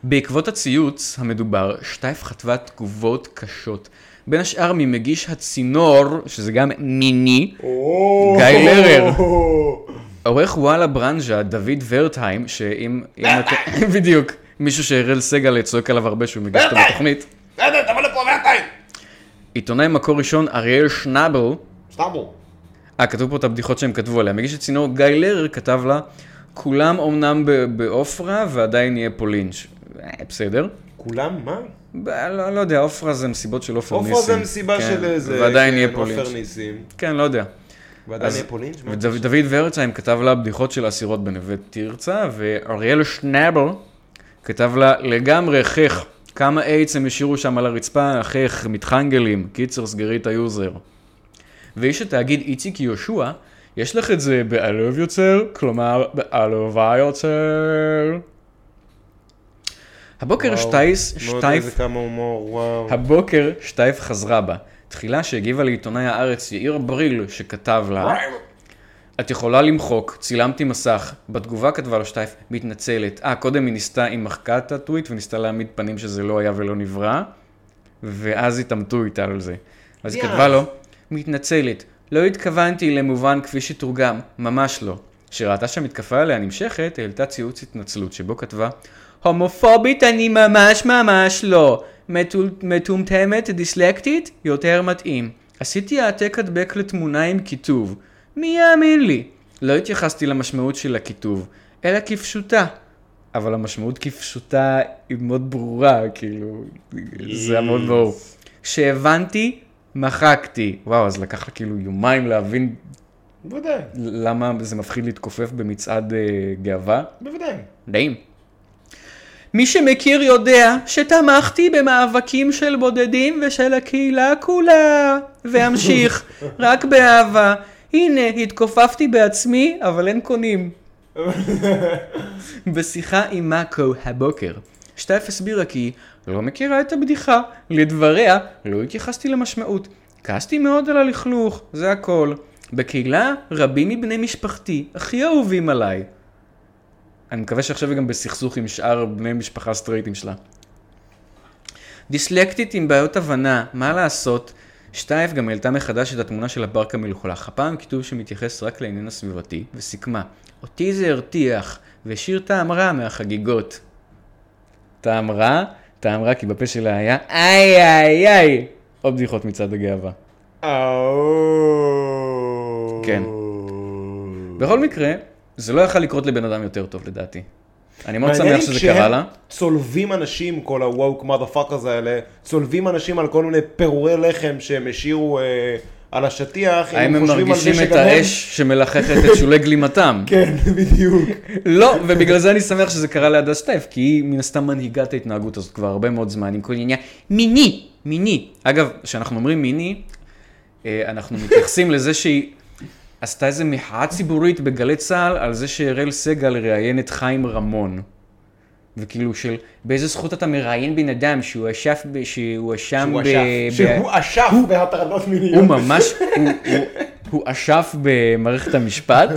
S1: בעקבות הציוץ המדובר, שטייף חטבה תגובות קשות. בין השאר ממגיש הצינור, שזה גם מיני, גיא לרר. עורך וואלה ברנז'ה, דוד ורטהיים, שאם... אם אתם- [LAUGHS] בדיוק, מישהו שאראל סגל צועק עליו הרבה שהוא מגיש אותו
S2: ורטהיים!
S1: בתוכנית.
S2: בסדר, תבוא לפה ועתיים!
S1: עיתונאי מקור ראשון, אריאל שנאבל,
S2: סתם הוא.
S1: אה, כתוב פה את הבדיחות שהם כתבו עליה. מגיש הצינור גיא לרר כתב לה, כולם אמנם ב- בעופרה ועדיין יהיה פה לינץ'. אה, בסדר.
S2: כולם מה?
S1: ב- לא, לא יודע, עופרה זה מסיבות של עופר ניסים.
S2: עופרה זה מסיבה
S1: כן,
S2: של איזה...
S1: ועדיין יהיה
S2: כן,
S1: פה לינץ'.
S2: עופר ניסים.
S1: כן, לא יודע.
S2: ועדיין
S1: אז-
S2: יהיה פה לינץ'? מה?
S1: וד- דוד ורצהיים כתב לה בדיחות של אסירות בנווה תרצה, ואריאל שנאבל כתב לה לגמרי חייך, כמה איידס הם השאירו שם על הרצפה, חייך, מתחנגלים, קיצר סגרי את היוזר. ואיש התאגיד איציק יהושע, יש לך את זה בעלוב יוצר, כלומר בעלובה יוצר. הבוקר
S2: וואו,
S1: שטייס,
S2: מאוד
S1: שטייף
S2: אוקיי. לא איזה כמה הומור, וואו.
S1: הבוקר שטייף חזרה בה. תחילה שהגיבה לעיתונאי הארץ יאיר בריל שכתב לה את יכולה למחוק, צילמתי מסך, בתגובה כתבה לו שטייף, מתנצלת. אה, קודם היא ניסתה, היא מחקה את הטוויט וניסתה להעמיד פנים שזה לא היה ולא נברא, ואז התעמתו איתה על זה. אז היא
S4: יאס.
S1: כתבה לו, מתנצלת, לא התכוונתי למובן כפי שתורגם, ממש לא. כשראתה שהמתקפה עליה נמשכת, העלתה ציוץ התנצלות שבו כתבה, הומופובית אני ממש ממש לא, מטול- מטומטמת, דיסלקטית, יותר מתאים. עשיתי העתק הדבק לתמונה עם כיתוב, מי יאמין לי? לא התייחסתי למשמעות של הכיתוב, אלא כפשוטה. אבל המשמעות כפשוטה היא מאוד ברורה, כאילו, זה היה מאוד ברור. כשהבנתי, מחקתי. וואו, אז לקח לה כאילו יומיים להבין
S2: בוודאי,
S1: למה זה מפחיד להתכופף במצעד אה, גאווה.
S2: בוודאי.
S1: מדהים. מי שמכיר יודע שתמכתי במאבקים של בודדים ושל הקהילה כולה. ואמשיך, רק באהבה. הנה, התכופפתי בעצמי, אבל אין קונים. בשיחה עם מאקו הבוקר, שטייף הסבירה כי לא מכירה את הבדיחה, לדבריה לא התייחסתי למשמעות. כעסתי מאוד על הלכלוך, זה הכל. בקהילה רבים מבני משפחתי הכי אהובים עליי. אני מקווה שעכשיו היא גם בסכסוך עם שאר בני משפחה סטרייטים שלה. דיסלקטית עם בעיות הבנה, מה לעשות? שטייף גם העלתה מחדש את התמונה של הברק המלוכלך, הפעם כיתוב שמתייחס רק לעניין הסביבתי, וסיכמה, אותי זה הרתיח, והשאיר טעם רע מהחגיגות. טעם רע? טעם רע כי בפה שלה היה איי איי איי! עוד בדיחות מצד הגאווה.
S2: אה,
S1: כן. בכל מקרה, זה לא יכול לקרות לבן אדם יותר טוב לדעתי. אני מאוד
S2: מעניין
S1: שמח
S2: אם
S1: שזה
S2: כשהם
S1: קרה לה.
S2: צולבים אנשים, כל ה-woke motherfuckers האלה, צולבים אנשים על כל מיני פירורי לחם שהם השאירו אה, על השטיח,
S1: האם הם
S2: חושבים על זה
S1: מרגישים את
S2: שגם הם-
S1: האש שמלחכת את שולי גלימתם?
S2: [LAUGHS] כן, בדיוק.
S1: לא, ובגלל זה אני שמח שזה קרה להדס שטייף, כי היא מן הסתם מנהיגה את ההתנהגות הזאת כבר הרבה מאוד זמן, עם כל עניין מיני, מיני. אגב, כשאנחנו אומרים מיני, אה, אנחנו מתייחסים לזה שהיא עשתה איזו מחאה ציבורית בגלי צה"ל על זה שאראל סגל ראיין את חיים רמון. וכאילו של, באיזה זכות אתה מראיין בן אדם שהוא אשף, ב- שהוא אשם
S2: שהוא
S1: ב...
S2: אשף,
S1: ב-
S2: שהוא אשף בהטרדות מיניות.
S1: הוא ממש, הוא- הוא- הוא אשף במערכת המשפט.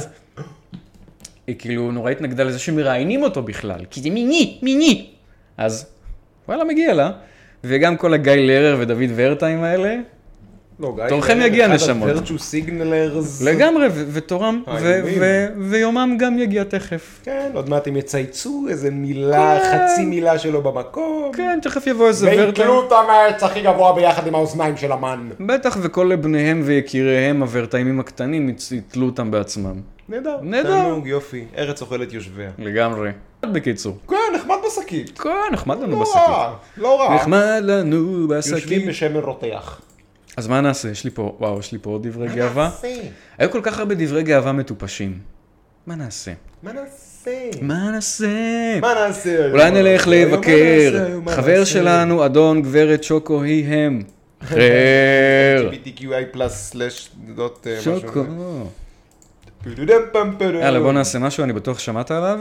S1: היא כאילו נורא התנגדה לזה שמראיינים אותו בכלל, כי זה מיני, מיני. אז וואלה, מגיע לה. וגם כל הגיא לרר ודוד ורטיים האלה,
S2: לא, גיא,
S1: תורכם
S2: זה
S1: יגיע,
S2: אחד
S1: נשמות.
S2: ה-virtue signalers.
S1: לגמרי, ו- ותורם, ו-
S2: האיומים.
S1: ו- ויומם גם יגיע תכף.
S2: כן, עוד מעט הם יצייצו איזה מילה, חצי מילה שלו במקום.
S1: כן, תכף יבוא איזה ורטיים.
S2: ויתלו את המרץ הכי גבוה ביחד עם האוזניים של המן.
S1: בטח וכל בניהם ויקיריהם הוורטיימים הקטנים יצ- יתלו אותם בעצמם.
S2: נהדר.
S1: נהדר.
S2: תענוג, יופי. ארץ אוכלת יושביה.
S1: לגמרי. בקיצור.
S2: כן, נחמד בשקית.
S1: כן, נחמד לנו
S2: לא
S1: בשקית.
S2: רע, לא רע.
S1: נחמד לנו בשקית.
S2: יושבים בשמן רותח.
S1: אז מה נעשה? יש לי פה, וואו, יש לי פה עוד דברי גאווה.
S4: נעשה?
S1: היו כל כך הרבה דברי גאווה מטופשים. מה נעשה?
S2: מה נעשה?
S1: מה נעשה?
S2: מה נעשה?
S1: אולי נלך
S2: היום? מה
S1: לבקר.
S2: נעשה היום? מה
S1: חבר
S2: נעשה?
S1: שלנו, אדון, גברת, שוקו, היא הם. אחר.
S2: [LAUGHS] LGBTQI פלאס סלאש דוט אה, משהו.
S1: שוקו.
S2: פודודם פם פודודם.
S1: יאללה, בוא נעשה משהו, אני בטוח שמעת עליו.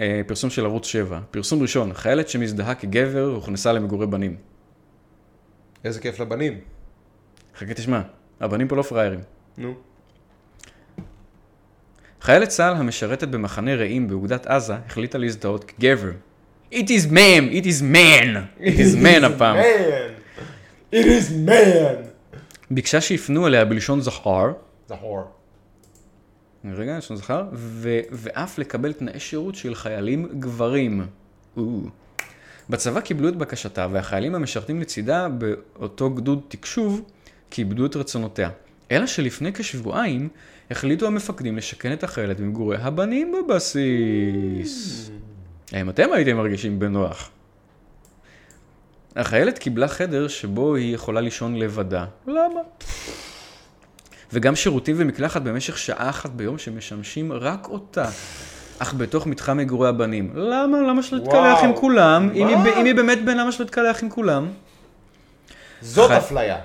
S1: אה, פרסום של ערוץ 7. פרסום ראשון, חיילת שמזדהה כגבר הוכנסה למגורי בנים.
S2: איזה כיף לבנים.
S1: חכה תשמע, הבנים פה לא פראיירים.
S2: נו.
S1: חיילת צה"ל המשרתת במחנה רעים באוגדת עזה החליטה להזדהות כגבר. It is man, it is man, it is man הפעם.
S2: Man. It is man.
S1: ביקשה שיפנו אליה בלשון זכר,
S2: זה חור.
S1: רגע, לשון זכר, ו- ואף לקבל תנאי שירות של חיילים גברים. או. בצבא קיבלו את בקשתה, והחיילים המשרתים לצידה באותו גדוד תקשוב, כיבדו את רצונותיה. אלא שלפני כשבועיים החליטו המפקדים לשכן את החיילת במגורי הבנים בבסיס. האם אתם הייתם מרגישים בנוח? החיילת קיבלה חדר שבו היא יכולה לישון לבדה. למה? וגם שירותים ומקלחת במשך שעה אחת ביום שמשמשים רק אותה. אך בתוך מתחם מגורי הבנים. למה? למה שלא תתקלח
S2: וואו.
S1: עם כולם? אם היא,
S2: מה?
S1: אם היא באמת בן, למה שלא תתקלח עם כולם?
S2: זאת
S1: חי-
S2: אפליה.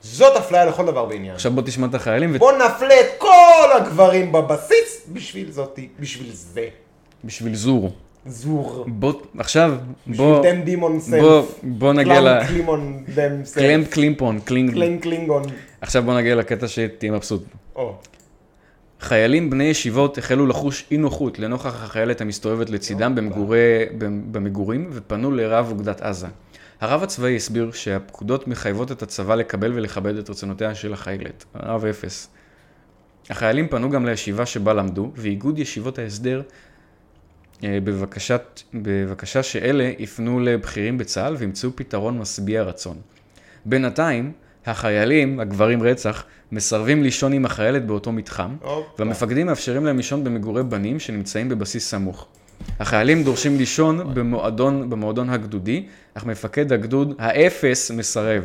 S2: זאת אפליה לכל דבר בעניין.
S1: עכשיו בוא תשמע את החיילים
S2: בוא נפלה את כל הגברים בבסיס בשביל זאתי, בשביל זה.
S1: ובשביל זור.
S2: זור.
S1: בוא, עכשיו,
S2: בשביל
S1: בוא,
S2: דם דימון סלף.
S1: בוא, בוא נגיע ל...
S2: קלאם קלימון דם סלף.
S1: קלמפ קלימפון, קלינג.
S2: קלינג קלינגון.
S1: עכשיו בוא נגיע לקטע שתהיה מבסוט.
S2: או.
S1: חיילים בני ישיבות החלו לחוש אי נוחות לנוכח החיילת המסתובבת לצידם במגורי, במ- במגורים ופנו לרב אוגדת עזה. הרב הצבאי הסביר שהפקודות מחייבות את הצבא לקבל ולכבד את רצונותיה של החיילת. הרב אפס. החיילים פנו גם לישיבה שבה למדו, ואיגוד ישיבות ההסדר אה, בבקשת, בבקשה שאלה יפנו לבכירים בצה"ל וימצאו פתרון משביע רצון. בינתיים, החיילים, הגברים רצח, מסרבים לישון עם החיילת באותו מתחם,
S4: הופה.
S1: והמפקדים מאפשרים להם לישון במגורי בנים שנמצאים בבסיס סמוך. החיילים דורשים לישון במועדון, במועדון הגדודי, אך מפקד הגדוד האפס מסרב.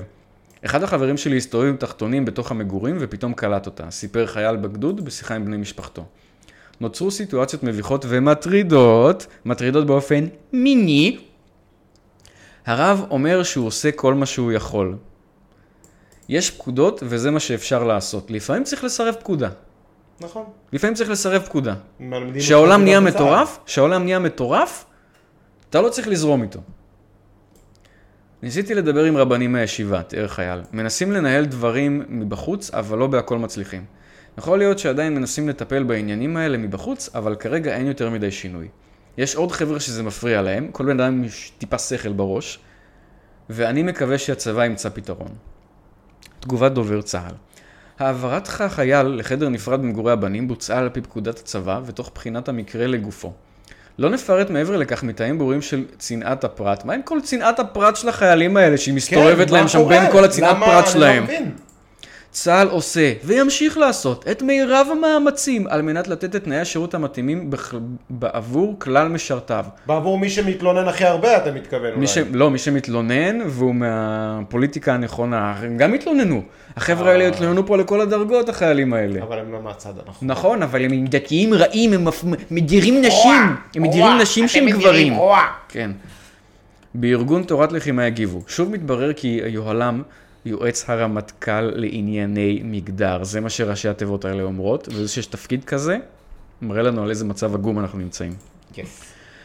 S1: אחד החברים שלי הסתובב עם תחתונים בתוך המגורים ופתאום קלט אותה, סיפר חייל בגדוד בשיחה עם בני משפחתו. נוצרו סיטואציות מביכות ומטרידות, מטרידות באופן מיני. הרב אומר שהוא עושה כל מה שהוא יכול. יש פקודות וזה מה שאפשר לעשות. לפעמים צריך לסרב פקודה.
S2: נכון.
S1: לפעמים צריך לסרב פקודה.
S2: מלמדים אותך
S1: שהעולם
S2: זה
S1: נהיה
S2: לא בצה"ל.
S1: מטורף, שהעולם נהיה מטורף, אתה לא צריך לזרום איתו. ניסיתי לדבר עם רבנים מהישיבה, תיאר חייל. מנסים לנהל דברים מבחוץ, אבל לא בהכל מצליחים. יכול להיות שעדיין מנסים לטפל בעניינים האלה מבחוץ, אבל כרגע אין יותר מדי שינוי. יש עוד חבר'ה שזה מפריע להם, כל בן אדם עם ש- טיפה שכל בראש, ואני מקווה שהצבא ימצא פתרון. תגובת דובר צה"ל העברת החייל לחדר נפרד במגורי הבנים בוצעה על פי פקודת הצבא ותוך בחינת המקרה לגופו. לא נפרט מעבר לכך מטעים ברורים של צנעת הפרט. מה עם כל צנעת הפרט של החיילים האלה שהיא מסתובבת
S2: כן, מה
S1: להם שם
S2: קורה?
S1: בין כל הצנעת
S2: למה-
S1: פרט
S2: אני לא
S1: שלהם?
S2: מבין.
S1: צה"ל עושה, וימשיך לעשות, את מירב המאמצים על מנת לתת את תנאי השירות המתאימים בכ... בעבור כלל משרתיו.
S2: בעבור מי שמתלונן הכי הרבה, אתה מתכוון אולי.
S1: מי ש... לא, מי שמתלונן, והוא מהפוליטיקה הנכונה, הם גם התלוננו. החבר'ה האלה התלוננו פה לכל הדרגות, החיילים האלה.
S2: אבל הם לא מהצד הנכון.
S1: נכון, אבל הם דתיים רעים, הם מפ- מדירים נשים. הם מדירים נשים שהם גברים. כן. בארגון תורת לחימה הגיבו. שוב מתברר כי יוהל"ם יועץ הרמטכ"ל לענייני מגדר. זה מה שראשי התיבות האלה אומרות, וזה שיש תפקיד כזה, מראה לנו על איזה מצב עגום אנחנו נמצאים.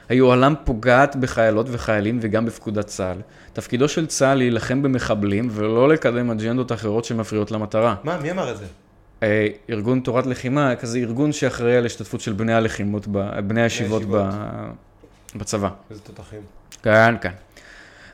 S1: היוהל"ם פוגעת בחיילות וחיילים וגם בפקודת צה"ל. תפקידו של צה"ל להילחם במחבלים ולא לקדם אג'נדות אחרות שמפריעות למטרה.
S4: מה, מי אמר את זה?
S1: אה, ארגון תורת לחימה, כזה ארגון שאחראי על השתתפות של בני הלחימות, ב- בני הישיבות ב... בצבא.
S2: איזה תותחים.
S1: כאן, כאן.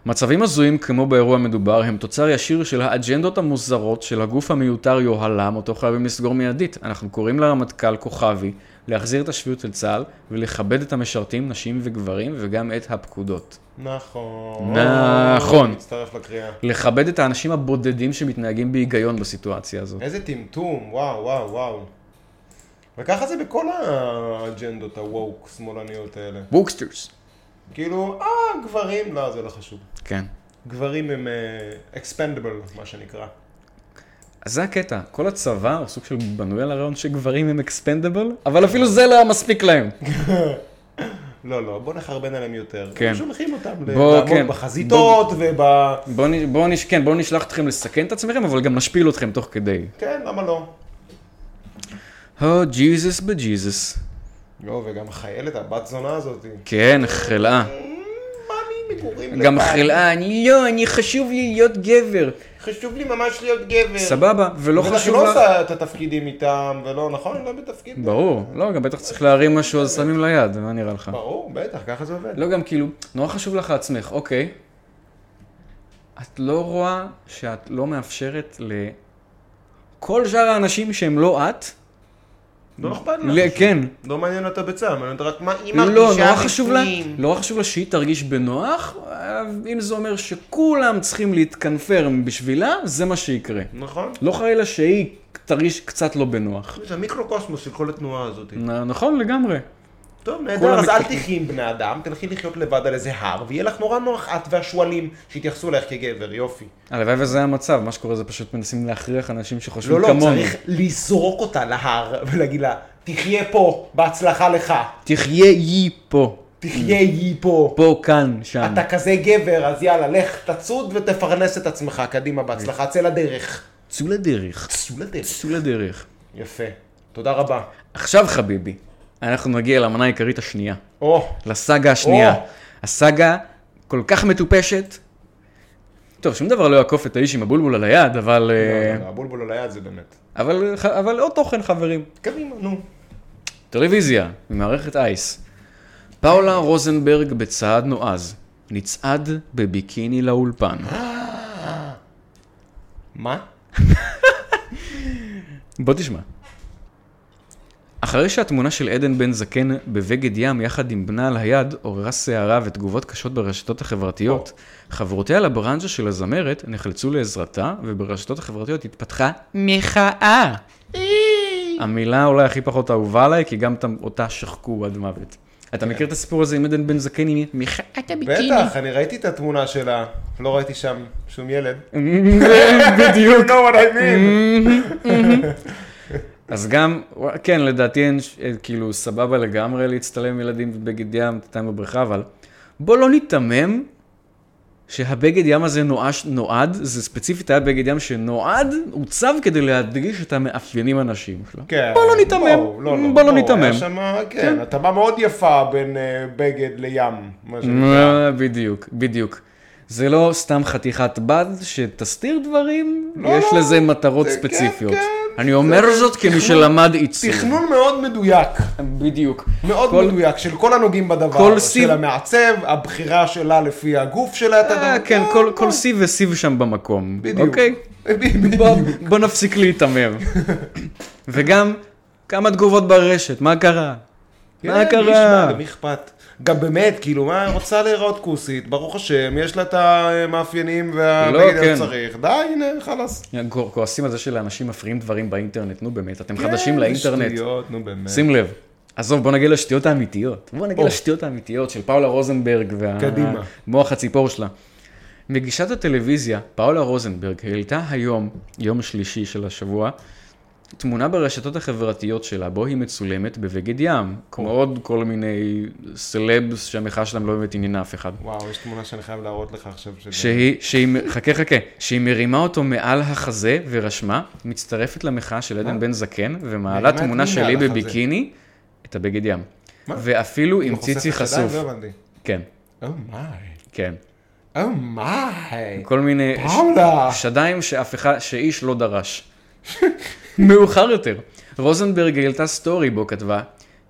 S1: מצבים הזויים כמו באירוע המדובר הם תוצר ישיר של האג'נדות המוזרות של הגוף המיותר יוהל"ם, אותו חייבים לסגור מיידית. אנחנו קוראים לרמטכ"ל כוכבי להחזיר את השפיות של צה"ל ולכבד את המשרתים, נשים וגברים, וגם את הפקודות.
S2: נכון.
S1: נכון.
S2: מצטרף לקריאה.
S1: לכבד את האנשים הבודדים שמתנהגים בהיגיון בסיטואציה הזאת.
S2: איזה טמטום, וואו, וואו, וואו. וככה זה בכל האג'נדות הווק שמאלניות האלה.
S1: בוקסטרס.
S2: כאילו, אה, גברים, לא, זה לא חשוב.
S1: כן.
S2: גברים הם אקספנדבל, מה שנקרא.
S1: אז זה הקטע, כל הצבא הוא סוג של בנוי על הרעיון שגברים הם אקספנדבל, אבל אפילו זה לא היה מספיק להם.
S2: לא, לא, בוא נחרבן עליהם יותר.
S1: כן.
S2: כן. שולחים אותם
S1: בוא,
S2: לעמוד
S1: כן.
S2: בחזיתות וב...
S1: בואו בוא נש... כן, בוא נשלח אתכם לסכן את עצמכם, אבל גם נשפיל אתכם תוך כדי.
S2: כן, למה לא?
S1: הו, ג'יזוס בג'יזוס.
S2: לא, וגם החיילת, הבת זונה הזאת.
S1: כן, חלאה.
S2: מאמי, מגורים
S1: גם
S2: לבד.
S1: חלאה, אני לא, אני חשוב לי להיות גבר.
S2: חשוב לי ממש להיות גבר.
S1: סבבה, ולא
S2: בטח היא
S1: חשוב
S2: לא
S1: לה...
S2: עושה את התפקידים איתם, ולא, נכון? היא לא בתפקיד.
S1: ברור, לא, גם בטח צריך להרים משהו, אז שמים לה יד, מה נראה לך?
S2: ברור, בטח, ככה זה עובד.
S1: לא, גם כאילו, נורא חשוב לך עצמך, אוקיי. את לא רואה שאת לא מאפשרת לכל שאר האנשים שהם לא את,
S2: לא אכפת לה.
S1: ל- כן,
S2: לא מעניין אותה בצה"ל, מעניין אותה רק מה היא
S1: לא,
S2: מרגישה.
S1: נורא חשוב לה,
S4: בפנים.
S1: נורא חשוב לה שהיא תרגיש בנוח, אה, אם זה אומר שכולם צריכים להתקנפר בשבילה, זה מה שיקרה.
S2: נכון?
S1: לא חלילה שהיא תרגיש קצת לא בנוח.
S4: זה מיקרוקוסמוס של כל התנועה הזאת.
S1: נ- נכון לגמרי.
S2: טוב,
S1: כולם
S2: נהדר, אז אל
S1: מתקפלים.
S2: תחי עם בני אדם, תלכי לחיות לבד על איזה הר, ויהיה לך נורא נוח את והשועלים שיתייחסו אלייך כגבר, יופי.
S1: הלוואי וזה היה המצב, מה שקורה זה פשוט מנסים להכריח אנשים שחושבים
S2: לא, לא,
S1: כמונו.
S2: צריך לזרוק אותה להר ולהגיד לה, תחיה פה, בהצלחה לך,
S1: תחיה יי פה, Mm.
S2: תחיה יי פה.
S1: פה, כאן, שם.
S2: אתה כזה גבר, אז יאללה, לך תצוד ותפרנס את עצמך, קדימה, בהצלחה, צא לדרך.
S1: צאו לדרך.
S2: צאו לדרך.
S1: צאו לדרך.
S2: יפה, תודה רבה.
S1: עכשיו חביבי, אנחנו נגיע למנה העיקרית השנייה,
S2: או,
S1: לסאגה השנייה.
S2: או.
S1: הסאגה כל כך מטופשת, טוב, שום דבר לא יעקוף את האיש עם הבולבול על היד, אבל... אה,
S2: לא, לא, הבולבול על היד זה באמת.
S1: אבל, אה, אבל עוד תוכן, חברים.
S2: קדימה, נו.
S1: טלוויזיה, ממערכת אייס. פאולה רוזנברג בצעד נועז, נצעד בביקיני לאולפן.
S2: מה?
S1: בוא תשמע. אחרי שהתמונה של עדן בן זקן בבגד ים יחד עם בנה על היד עוררה סערה ותגובות קשות ברשתות החברתיות, חברותיה לברנז'ה של הזמרת נחלצו לעזרתה, וברשתות החברתיות התפתחה מחאה. המילה אולי הכי פחות אהובה עליי, כי גם ת- אותה שחקו עד מוות. אתה מכיר את הסיפור הזה עם עדן בן זקן עם מחאת הביקיני?
S2: בטח, אני ראיתי את התמונה שלה, לא ראיתי שם שום ילד.
S1: [LAUGHS] בדיוק.
S2: [LAUGHS]
S1: Mm.
S2: You know what I mean.
S1: אז גם, כן, לדעתי אין, ש- אה, כאילו, סבבה לגמרי להצטלם עם ילדים בבגד ים, טעם בבריכה, אבל בוא לא ניתמם שהבגד ים הזה נואש, נועד, זה ספציפית היה בגד ים שנועד, עוצב כדי להדגיש את המאפיינים הנשיים שלו.
S2: כן.
S1: בוא לא ניתמם,
S2: בואו, לא,
S1: בוא לא
S2: בואו,
S1: ניתמם.
S2: היה שם, כן, התאמה מאוד יפה בין אה, בגד לים. מה שנקרא.
S1: אה, בדיוק, בדיוק. זה לא סתם חתיכת בד שתסתיר דברים, יש
S2: לא,
S1: לזה מטרות
S2: זה- כן,
S1: ספציפיות.
S2: כן,
S1: אני אומר זאת כמי שלמד עיצוב.
S2: תכנון מאוד מדויק,
S1: בדיוק.
S2: מאוד
S1: כל-
S2: מדויק, של כל הנוגעים בדבר.
S1: כל סיב-
S2: של המעצב, הבחירה שלה לפי הגוף שלה, אתה
S1: אה,
S2: יודע.
S1: כן, כל- כל סיב וסיב שם במקום.
S2: בדיוק.
S1: אוקיי?
S2: אה, [LAUGHS] בדיוק.
S1: בוא- בוא נפסיק להיתמם. וגם כמה תגובות ברשת, מה קרה? מה
S2: כן, מי
S1: קרה?
S2: ישמע, למי אכפת? גם באמת, כאילו, מה, רוצה להיראות כוסית, ברוך השם, יש לה את המאפיינים
S1: לא,
S2: והבגד
S1: כן.
S2: שצריך. די, הנה, חלאס.
S1: כוע- כועסים על זה שלאנשים מפריעים דברים באינטרנט, נו באמת, אתם חדשים
S2: כן,
S1: לאינטרנט.
S2: שטויות, נו באמת.
S1: שים לב. עזוב, בוא נגיע לשטויות האמיתיות. בוא נגיע
S2: אה, או.
S1: לשטויות האמיתיות של פאולה רוזנברג
S2: קדימה.
S1: והמוח הציפור שלה. מגישת הטלוויזיה, פאולה רוזנברג, העלתה היום, יום שלישי של השבוע, תמונה ברשתות החברתיות שלה, בו היא מצולמת בבגד ים, כמו עוד כל מיני סלבס שהמחאה שלהם לא באמת עניינה אף אחד.
S2: וואו, יש תמונה שאני חייב להראות לך עכשיו. שזה-
S1: שהיא, שהיא, מ- חכה חכה, שהיא מרימה אותו מעל החזה ורשמה, מצטרפת למחאה של עדן בן זקן, ומעלה
S2: מרימה את
S1: תמונה
S2: מי
S1: שלי
S2: מעל החזה?
S1: בביקיני, את הבגד ים.
S2: מה?
S1: ואפילו עם
S2: הוא חושף
S1: ציצי
S2: את הידיים?
S1: חשוף.
S2: לא הבנתי. Oh
S1: כן,
S2: אומיי.
S1: כן.
S2: אומיי.
S1: כל מיני ש-
S2: Oh פאולה.
S1: שדיים שאף אחד, שאיש לא דרש. [LAUGHS] מאוחר יותר. רוזנברג העלתה סטורי בו כתבה,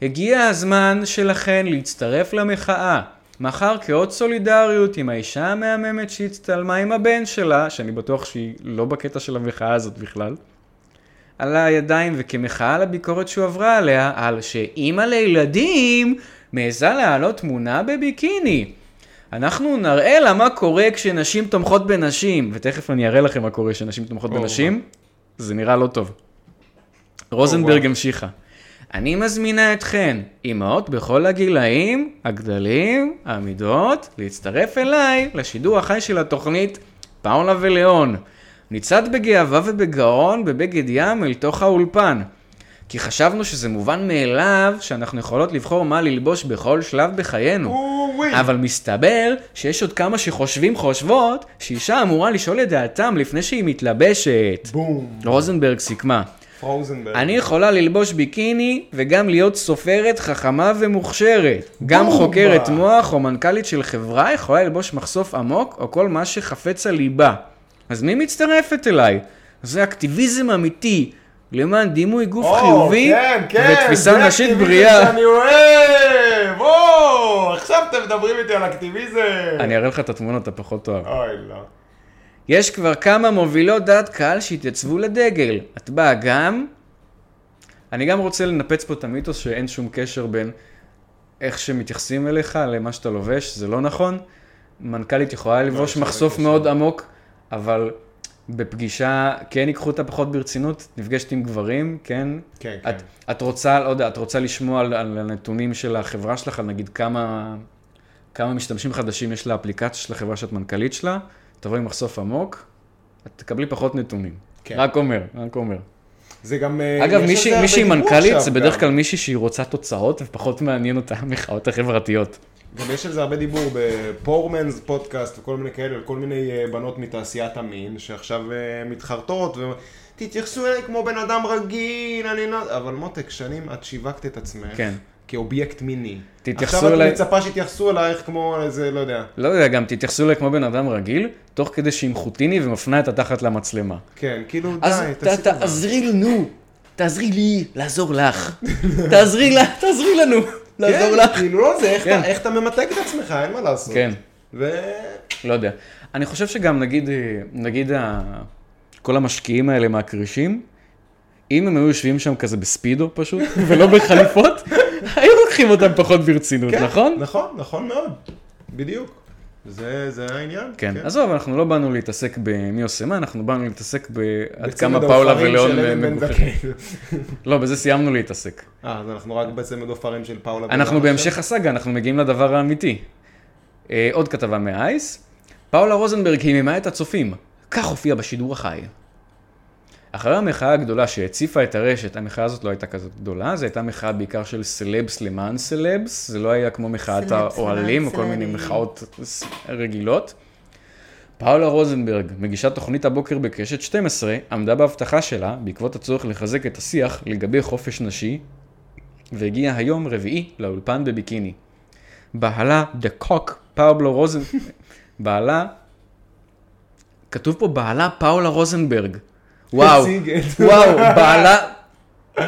S1: הגיע הזמן שלכן להצטרף למחאה. מחר כאות סולידריות עם האישה המהממת שהצטלמה עם הבן שלה, שאני בטוח שהיא לא בקטע של המחאה הזאת בכלל, על הידיים וכמחאה על הביקורת שהוא עברה עליה, על שאימא לילדים מעיזה להעלות תמונה בביקיני. אנחנו נראה לה מה קורה כשנשים תומכות בנשים, ותכף אני אראה לכם מה קורה כשנשים תומכות בנשים, זה נראה לא טוב. רוזנברג המשיכה. אני מזמינה אתכן, אמהות בכל הגילאים, הגדלים, העמידות, להצטרף אליי לשידור החי של התוכנית פאולה ולאון. נצעד בגאווה ובגאון בבגד ים אל תוך האולפן. כי חשבנו שזה מובן מאליו שאנחנו יכולות לבחור מה ללבוש בכל שלב בחיינו.
S2: אוי.
S1: אבל מסתבר שיש עוד כמה שחושבים חושבות שאישה אמורה לשאול את דעתם לפני שהיא מתלבשת.
S2: בום.
S1: רוזנברג סיכמה.
S2: פרוזנברג.
S1: אני יכולה ללבוש ביקיני וגם להיות סופרת חכמה ומוכשרת. גם
S2: בובה.
S1: חוקרת מוח או מנכ"לית של חברה יכולה ללבוש מחשוף עמוק או כל מה שחפץ על ליבה. אז מי מצטרפת אליי? זה אקטיביזם אמיתי למען דימוי גוף
S2: או,
S1: חיובי
S2: Oh, כן, כן,
S1: ותפיסה
S2: זה
S1: נשית
S2: אקטיביזם
S1: בריאה.
S2: שאני אוהב! או, עכשיו אתם מדברים איתי על אקטיביזם.
S1: אני אראה לך את התמונות, אתה פחות תאהב.
S2: אוי, לא.
S1: יש כבר כמה מובילות דעת קהל שהתייצבו לדגל. את באה גם? אני גם רוצה לנפץ פה את המיתוס שאין שום קשר בין איך שמתייחסים אליך למה שאתה לובש, זה לא נכון. מנכ"לית יכולה
S2: לא, יש
S1: לבוש
S2: לזה
S1: מחשוף
S2: קשר.
S1: מאוד עמוק, אבל בפגישה כן ייקחו אותה פחות ברצינות, נפגשת עם גברים, כן?
S2: כן, כן.
S1: את, את רוצה, לא יודע, את רוצה לשמוע על, על הנתונים של החברה שלך, על נגיד כמה, כמה משתמשים חדשים יש לאפליקציה של החברה שאת מנכ"לית שלה, תבואי עם מחשוף עמוק, את תקבלי פחות נתונים.
S2: כן.
S1: רק אומר, רק אומר.
S2: זה גם... אה, יש
S1: אגב,
S2: על
S1: מישהי
S2: הרבה
S1: מישהי
S2: דיבור
S1: מנכ"לית
S2: עכשיו
S1: זה בדרך
S2: גם.
S1: כלל מישהי שהיא רוצה תוצאות ופחות מעניין אותה [LAUGHS] המחאות החברתיות.
S2: גם יש על זה הרבה דיבור בפורמנס פודקאסט וכל מיני כאלה, על כל מיני אה, בנות מתעשיית המין, שעכשיו אה, מתחרטות, ו... תתייחסו אליי כמו בן אדם רגיל, אני לא... אבל מותק, שנים את שיווקת את עצמך.
S1: כן.
S2: כאובייקט מיני.
S1: תתייחסו
S2: עכשיו
S1: אליי-
S2: את מצפה שיתייחסו אלייך כמו איזה, לא יודע.
S1: לא יודע, גם תתייחסו אליה כמו בן אדם רגיל, תוך כדי שהיא מחוטיני ומפנה את התחת למצלמה.
S2: כן, כאילו,
S5: אז
S2: די,
S5: ת-
S2: תעשי טובה.
S5: תעזרי לנו, תעזרי לי לעזור לך. תעזרי לה- תעזרי לנו לעזור
S2: כן,
S5: לך.
S2: כאילו לא זה, איך
S1: כן.
S2: אתה- איך אתה ממתג את עצמך, אין מה לעשות.
S1: כן.
S2: וכן,
S1: לא יודע. אני חושב שגם נגיד, אה, נגיד ה... כל המשקיעים האלה מהכרישים, אם הם היו יושבים שם כזה בספידו פשוט, ולא בחליפות, היו לוקחים אותם פחות ברצינות, נכון?
S2: נכון, נכון מאוד. בדיוק. זה, זה העניין.
S1: כן, עזוב, אנחנו לא באנו להתעסק במי עושה מה, אנחנו באנו להתעסק בעד
S2: בצמד
S1: כמה פאולה
S2: האופרים
S1: ולאון
S2: של אבן בן
S1: מגוחכים.
S2: זקן. [LAUGHS]
S1: לא, בזה סיימנו להתעסק.
S2: אה, אז אנחנו רק בצמד עופרים של פאולה. בן
S1: אנחנו
S2: זקן.
S1: בהמשך הסאגה, אנחנו מגיעים לדבר האמיתי. אה, עוד כתבה מהאייס, פאולה רוזנברג היממה את הצופים, כך הופיע בשידור החי. אחרי המחאה הגדולה שהציפה את הרשת, המחאה הזאת לא הייתה כזאת גדולה, זו הייתה מחאה בעיקר של סלבס למען סלבס, זה לא היה כמו מחאת
S6: סלבס
S1: האוהלים או
S6: למען
S1: כל מיני
S6: סלבים.
S1: מחאות ס- רגילות. פאולה רוזנברג, מגישת תוכנית הבוקר בקשת 12, עמדה בהבטחה שלה, בעקבות הצורך לחזק את השיח לגבי חופש נשי, והגיע היום רביעי לאולפן בביקיני. בעלה דה קוק, פאולו רוזן... [LAUGHS] בעלה... כתוב פה בעלה פאולה רוזנברג. וואו,
S2: הציג את-
S1: [LAUGHS] וואו, בעלה...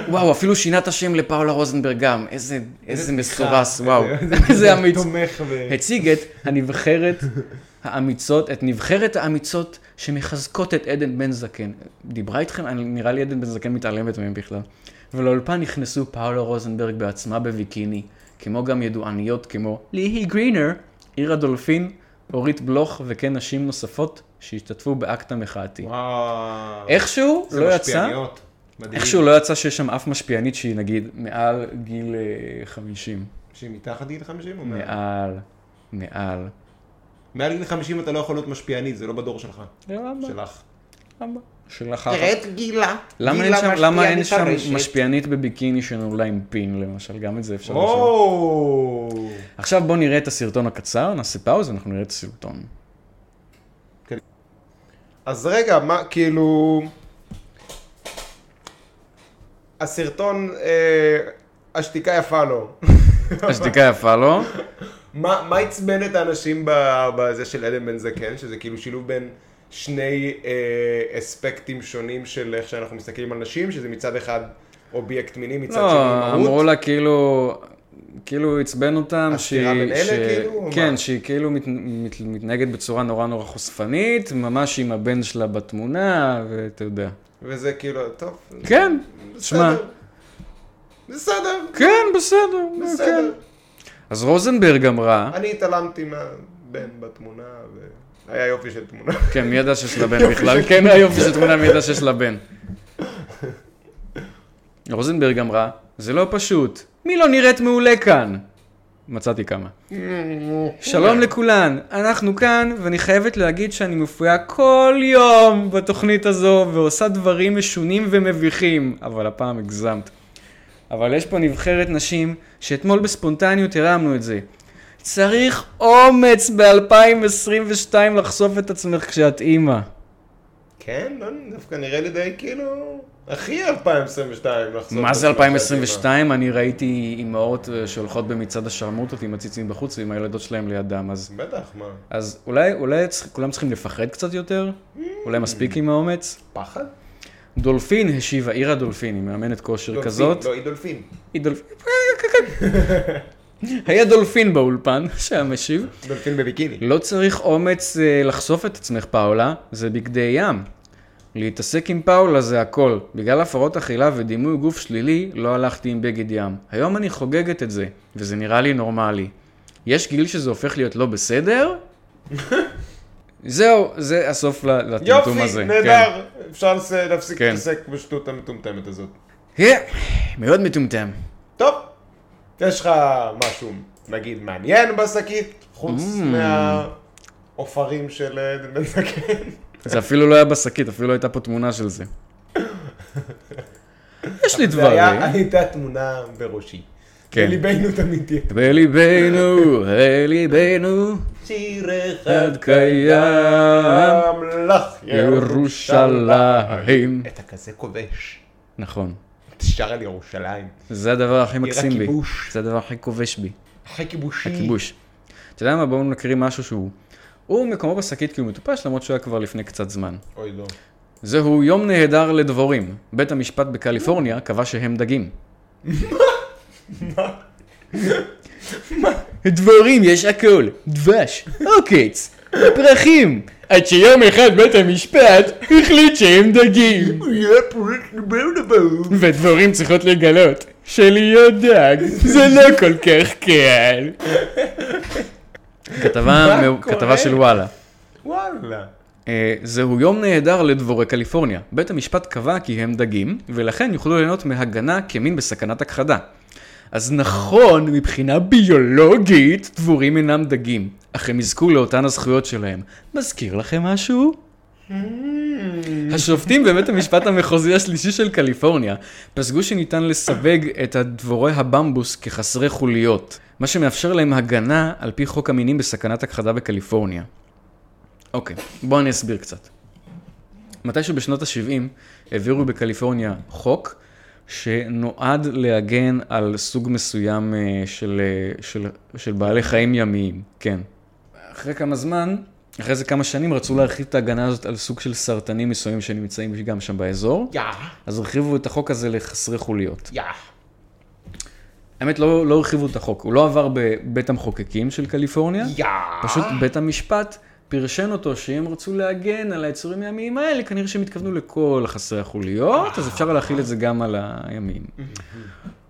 S1: וואו, אפילו שינה את השם לפאולה רוזנברג גם, איזה, איזה
S2: [LAUGHS]
S1: מסורס, וואו, [LAUGHS] איזה אמיץ.
S2: תומך ב...
S1: הציג את הנבחרת האמיצות, את נבחרת האמיצות שמחזקות את עדן בן זקן. דיברה איתכם? אני, נראה לי עדן בן זקן מתעלמת מהם בכלל. ולאולפן נכנסו פאולה רוזנברג בעצמה בביקיני, כמו גם ידועניות כמו ליהי גרינר, עיר הדולפין, אורית בלוך וכן נשים נוספות שהשתתפו באקט המחאתי.
S2: וואו.
S1: איכשהו
S2: זה
S1: לא יצא,
S2: משפיעניות. מדהים.
S1: איכשהו לא יצא שיש שם אף משפיענית שהיא נגיד מעל גיל אה, 50.
S2: שהיא מתחת גיל 50 או מעל?
S1: מעל, מעל.
S2: מעל גיל 50 אתה לא יכול להיות משפיענית, זה לא בדור שלך.
S1: למה?
S2: שלך.
S1: של אחר
S6: תראה את גילה.
S1: למה אין
S6: גילה
S1: שם,
S6: משפיעה
S1: למה אין שם
S6: מטרשת.
S1: משפיענית בביקיני שנולדה עם פין למשל, גם את זה אפשר לשאול.
S2: או!
S1: עכשיו בואו נראה את הסרטון הקצר, נעשה פאוז, אנחנו נראה את הסרטון. [LAUGHS]
S2: אז רגע, מה, כאילו... הסרטון, אה, השתיקה יפה לו. [LAUGHS]
S1: השתיקה יפה לא? לו,
S2: מה מה עצבן את האנשים ב- בזה של עדן בן זקן, שזה כאילו שילוב בין שני אה, אספקטים שונים של איך שאנחנו מסתכלים על נשים, שזה מצד אחד אובייקט מיני, מצד
S1: לא,
S2: שני
S1: אמרו
S2: מהות.
S1: לה כאילו, כאילו עצבן אותם,
S2: הסתירה
S1: שהיא-
S2: בין אלה, כאילו, או
S1: כן,
S2: מה?
S1: שהיא כאילו מת, מת, מתנהגת בצורה נורא נורא חושפנית, ממש עם הבן שלה בתמונה, ואתה יודע.
S2: וזה כאילו, טוב,
S1: כן, שמע,
S2: בסדר. בסדר,
S1: כן, בסדר, כן.
S2: בסדר.
S1: אז רוזנברג אמרה,
S2: אני התעלמתי מהבן בתמונה, והיה יופי של
S1: [LAUGHS]
S2: תמונה. [LAUGHS]
S1: כן, מי ידע שיש לה בן בכלל? כן, היופי של תמונה, מי ידע שיש לה בן. רוזנברג אמרה, זה לא פשוט, מי לא נראית מעולה כאן? מצאתי כמה. שלום לכולן, אנחנו כאן, ואני חייבת להגיד שאני מופיעה כל יום בתוכנית הזו, ועושה דברים משונים ומביכים, אבל הפעם הגזמת. אבל יש פה נבחרת נשים, שאתמול בספונטניות הרמנו את זה. צריך אומץ ב-2022 לחשוף את עצמך כשאת אימא.
S2: כן, לא, דווקא נראה לי די כאילו, הכי 2022 לחזור.
S1: מה זה
S2: לתקופה
S1: 2022? אני ראיתי אימהות אה, שהולכות במצעד השרמוטות עם הציצים בחוץ ועם הילדות שלהם לידם, אז...
S2: שעברה. בטח, מה?
S1: אז אולי, אולי צר- כולם צריכים לפחד קצת יותר? אולי מספיק עם האומץ?
S2: פחד?
S1: דולפין השיבה, עירה דולפין, היא מאמנת כושר
S2: דולפין,
S1: כזאת.
S2: לא, היא דולפין.
S1: היא דולפין. כן. [LAUGHS] היה דולפין באולפן שהיה משיב.
S2: דולפין בביקיני.
S1: לא צריך אומץ אה, לחשוף את עצמך, פאולה, זה בגדי ים. להתעסק עם פאולה זה הכל. בגלל הפרעות אכילה ודימוי גוף שלילי, לא הלכתי עם בגד ים. היום אני חוגגת את זה, וזה נראה לי נורמלי. יש גיל שזה הופך להיות לא בסדר? [LAUGHS] זהו, זה הסוף ל- לטמטום הזה.
S2: יופי,
S1: כן.
S2: נהדר. אפשר לס- להפסיק
S1: כן.
S2: להתעסק בשטות המטומטמת הזאת.
S1: כן, מאוד מטומטם.
S2: טוב, יש לך משהו, נגיד, מעניין בשקית, חוץ
S1: Mm.
S2: מהעופרים של אה, בן זקן.
S1: זה אפילו לא היה בשקית, אפילו לא הייתה פה תמונה של
S2: [LAUGHS]
S1: זה. יש
S2: זה
S1: לי דברים.
S2: היה- הייתה תמונה בראשי.
S1: כן.
S2: ליבנו תמיד תהיה.
S1: בליבנו, ליבנו,
S2: שיר אחד
S1: עד קיים,
S2: גם אמ, לך
S1: ירושלים.
S2: אתה כזה כובש.
S1: נכון.
S2: שר על ירושלים.
S1: זה הדבר הכי מקסים בי.
S2: הכיבוש.
S1: זה הדבר הכי כובש בי.
S2: אחרי כיבושי.
S1: הכיבוש. אתה יודע מה? בואו נקריא משהו שהוא... הוא מקומו בשקית כי הוא מטופש, למרות שהוא היה כבר לפני קצת זמן.
S2: אוי לא.
S1: זהו יום נהדר לדבורים. בית המשפט בקליפורניה קבע שהם דגים. דבורים יש הכל, דבש, עוקץ, פרחים. עד שיום אחד בית המשפט החליט שהם דגים. ודבורים צריכות לגלות שלהיות דג זה לא כל כך קל. כתבה,
S2: מה
S1: מ-
S2: קורה?
S1: כתבה של וואלה.
S2: וואלה.
S1: אה, זהו יום נהדר לדבורי קליפורניה. בית המשפט קבע כי הם דגים, ולכן יוכלו ליהנות מהגנה כמין בסכנת הכחדה. אז נכון, מבחינה ביולוגית, דבורים אינם דגים, אך הם יזכו לאותן הזכויות שלהם. מזכיר לכם משהו? השופטים בבית המשפט המחוזי השלישי של קליפורניה פסקו שניתן לסווג את הדבורי הבמבוס כחסרי חוליות, מה שמאפשר להם הגנה על פי חוק המינים בסכנת הכחדה בקליפורניה. אוקיי, בואו אני אסביר קצת. מתישהו בשנות ה-70 העבירו בקליפורניה חוק שנועד להגן על סוג מסוים אה, של, אה, של, של בעלי חיים ימיים, כן. אחרי כמה זמן, אחרי זה כמה שנים, רצו להרחיב את ההגנה הזאת על סוג של סרטנים מסוימים שנמצאים גם שם באזור,
S4: יא,
S1: אז הרחיבו את החוק הזה לחסרי חוליות.
S4: יא.
S1: האמת, לא, לא הרחיבו את החוק, הוא לא עבר בבית המחוקקים של קליפורניה.
S4: יא.
S1: פשוט בית המשפט פרשן אותו שאם רצו להגן על היצורים הימיים האלה, כנראה שהם התכוונו לכל חסרי החוליות, אז אפשר להכיל את זה גם על הימים.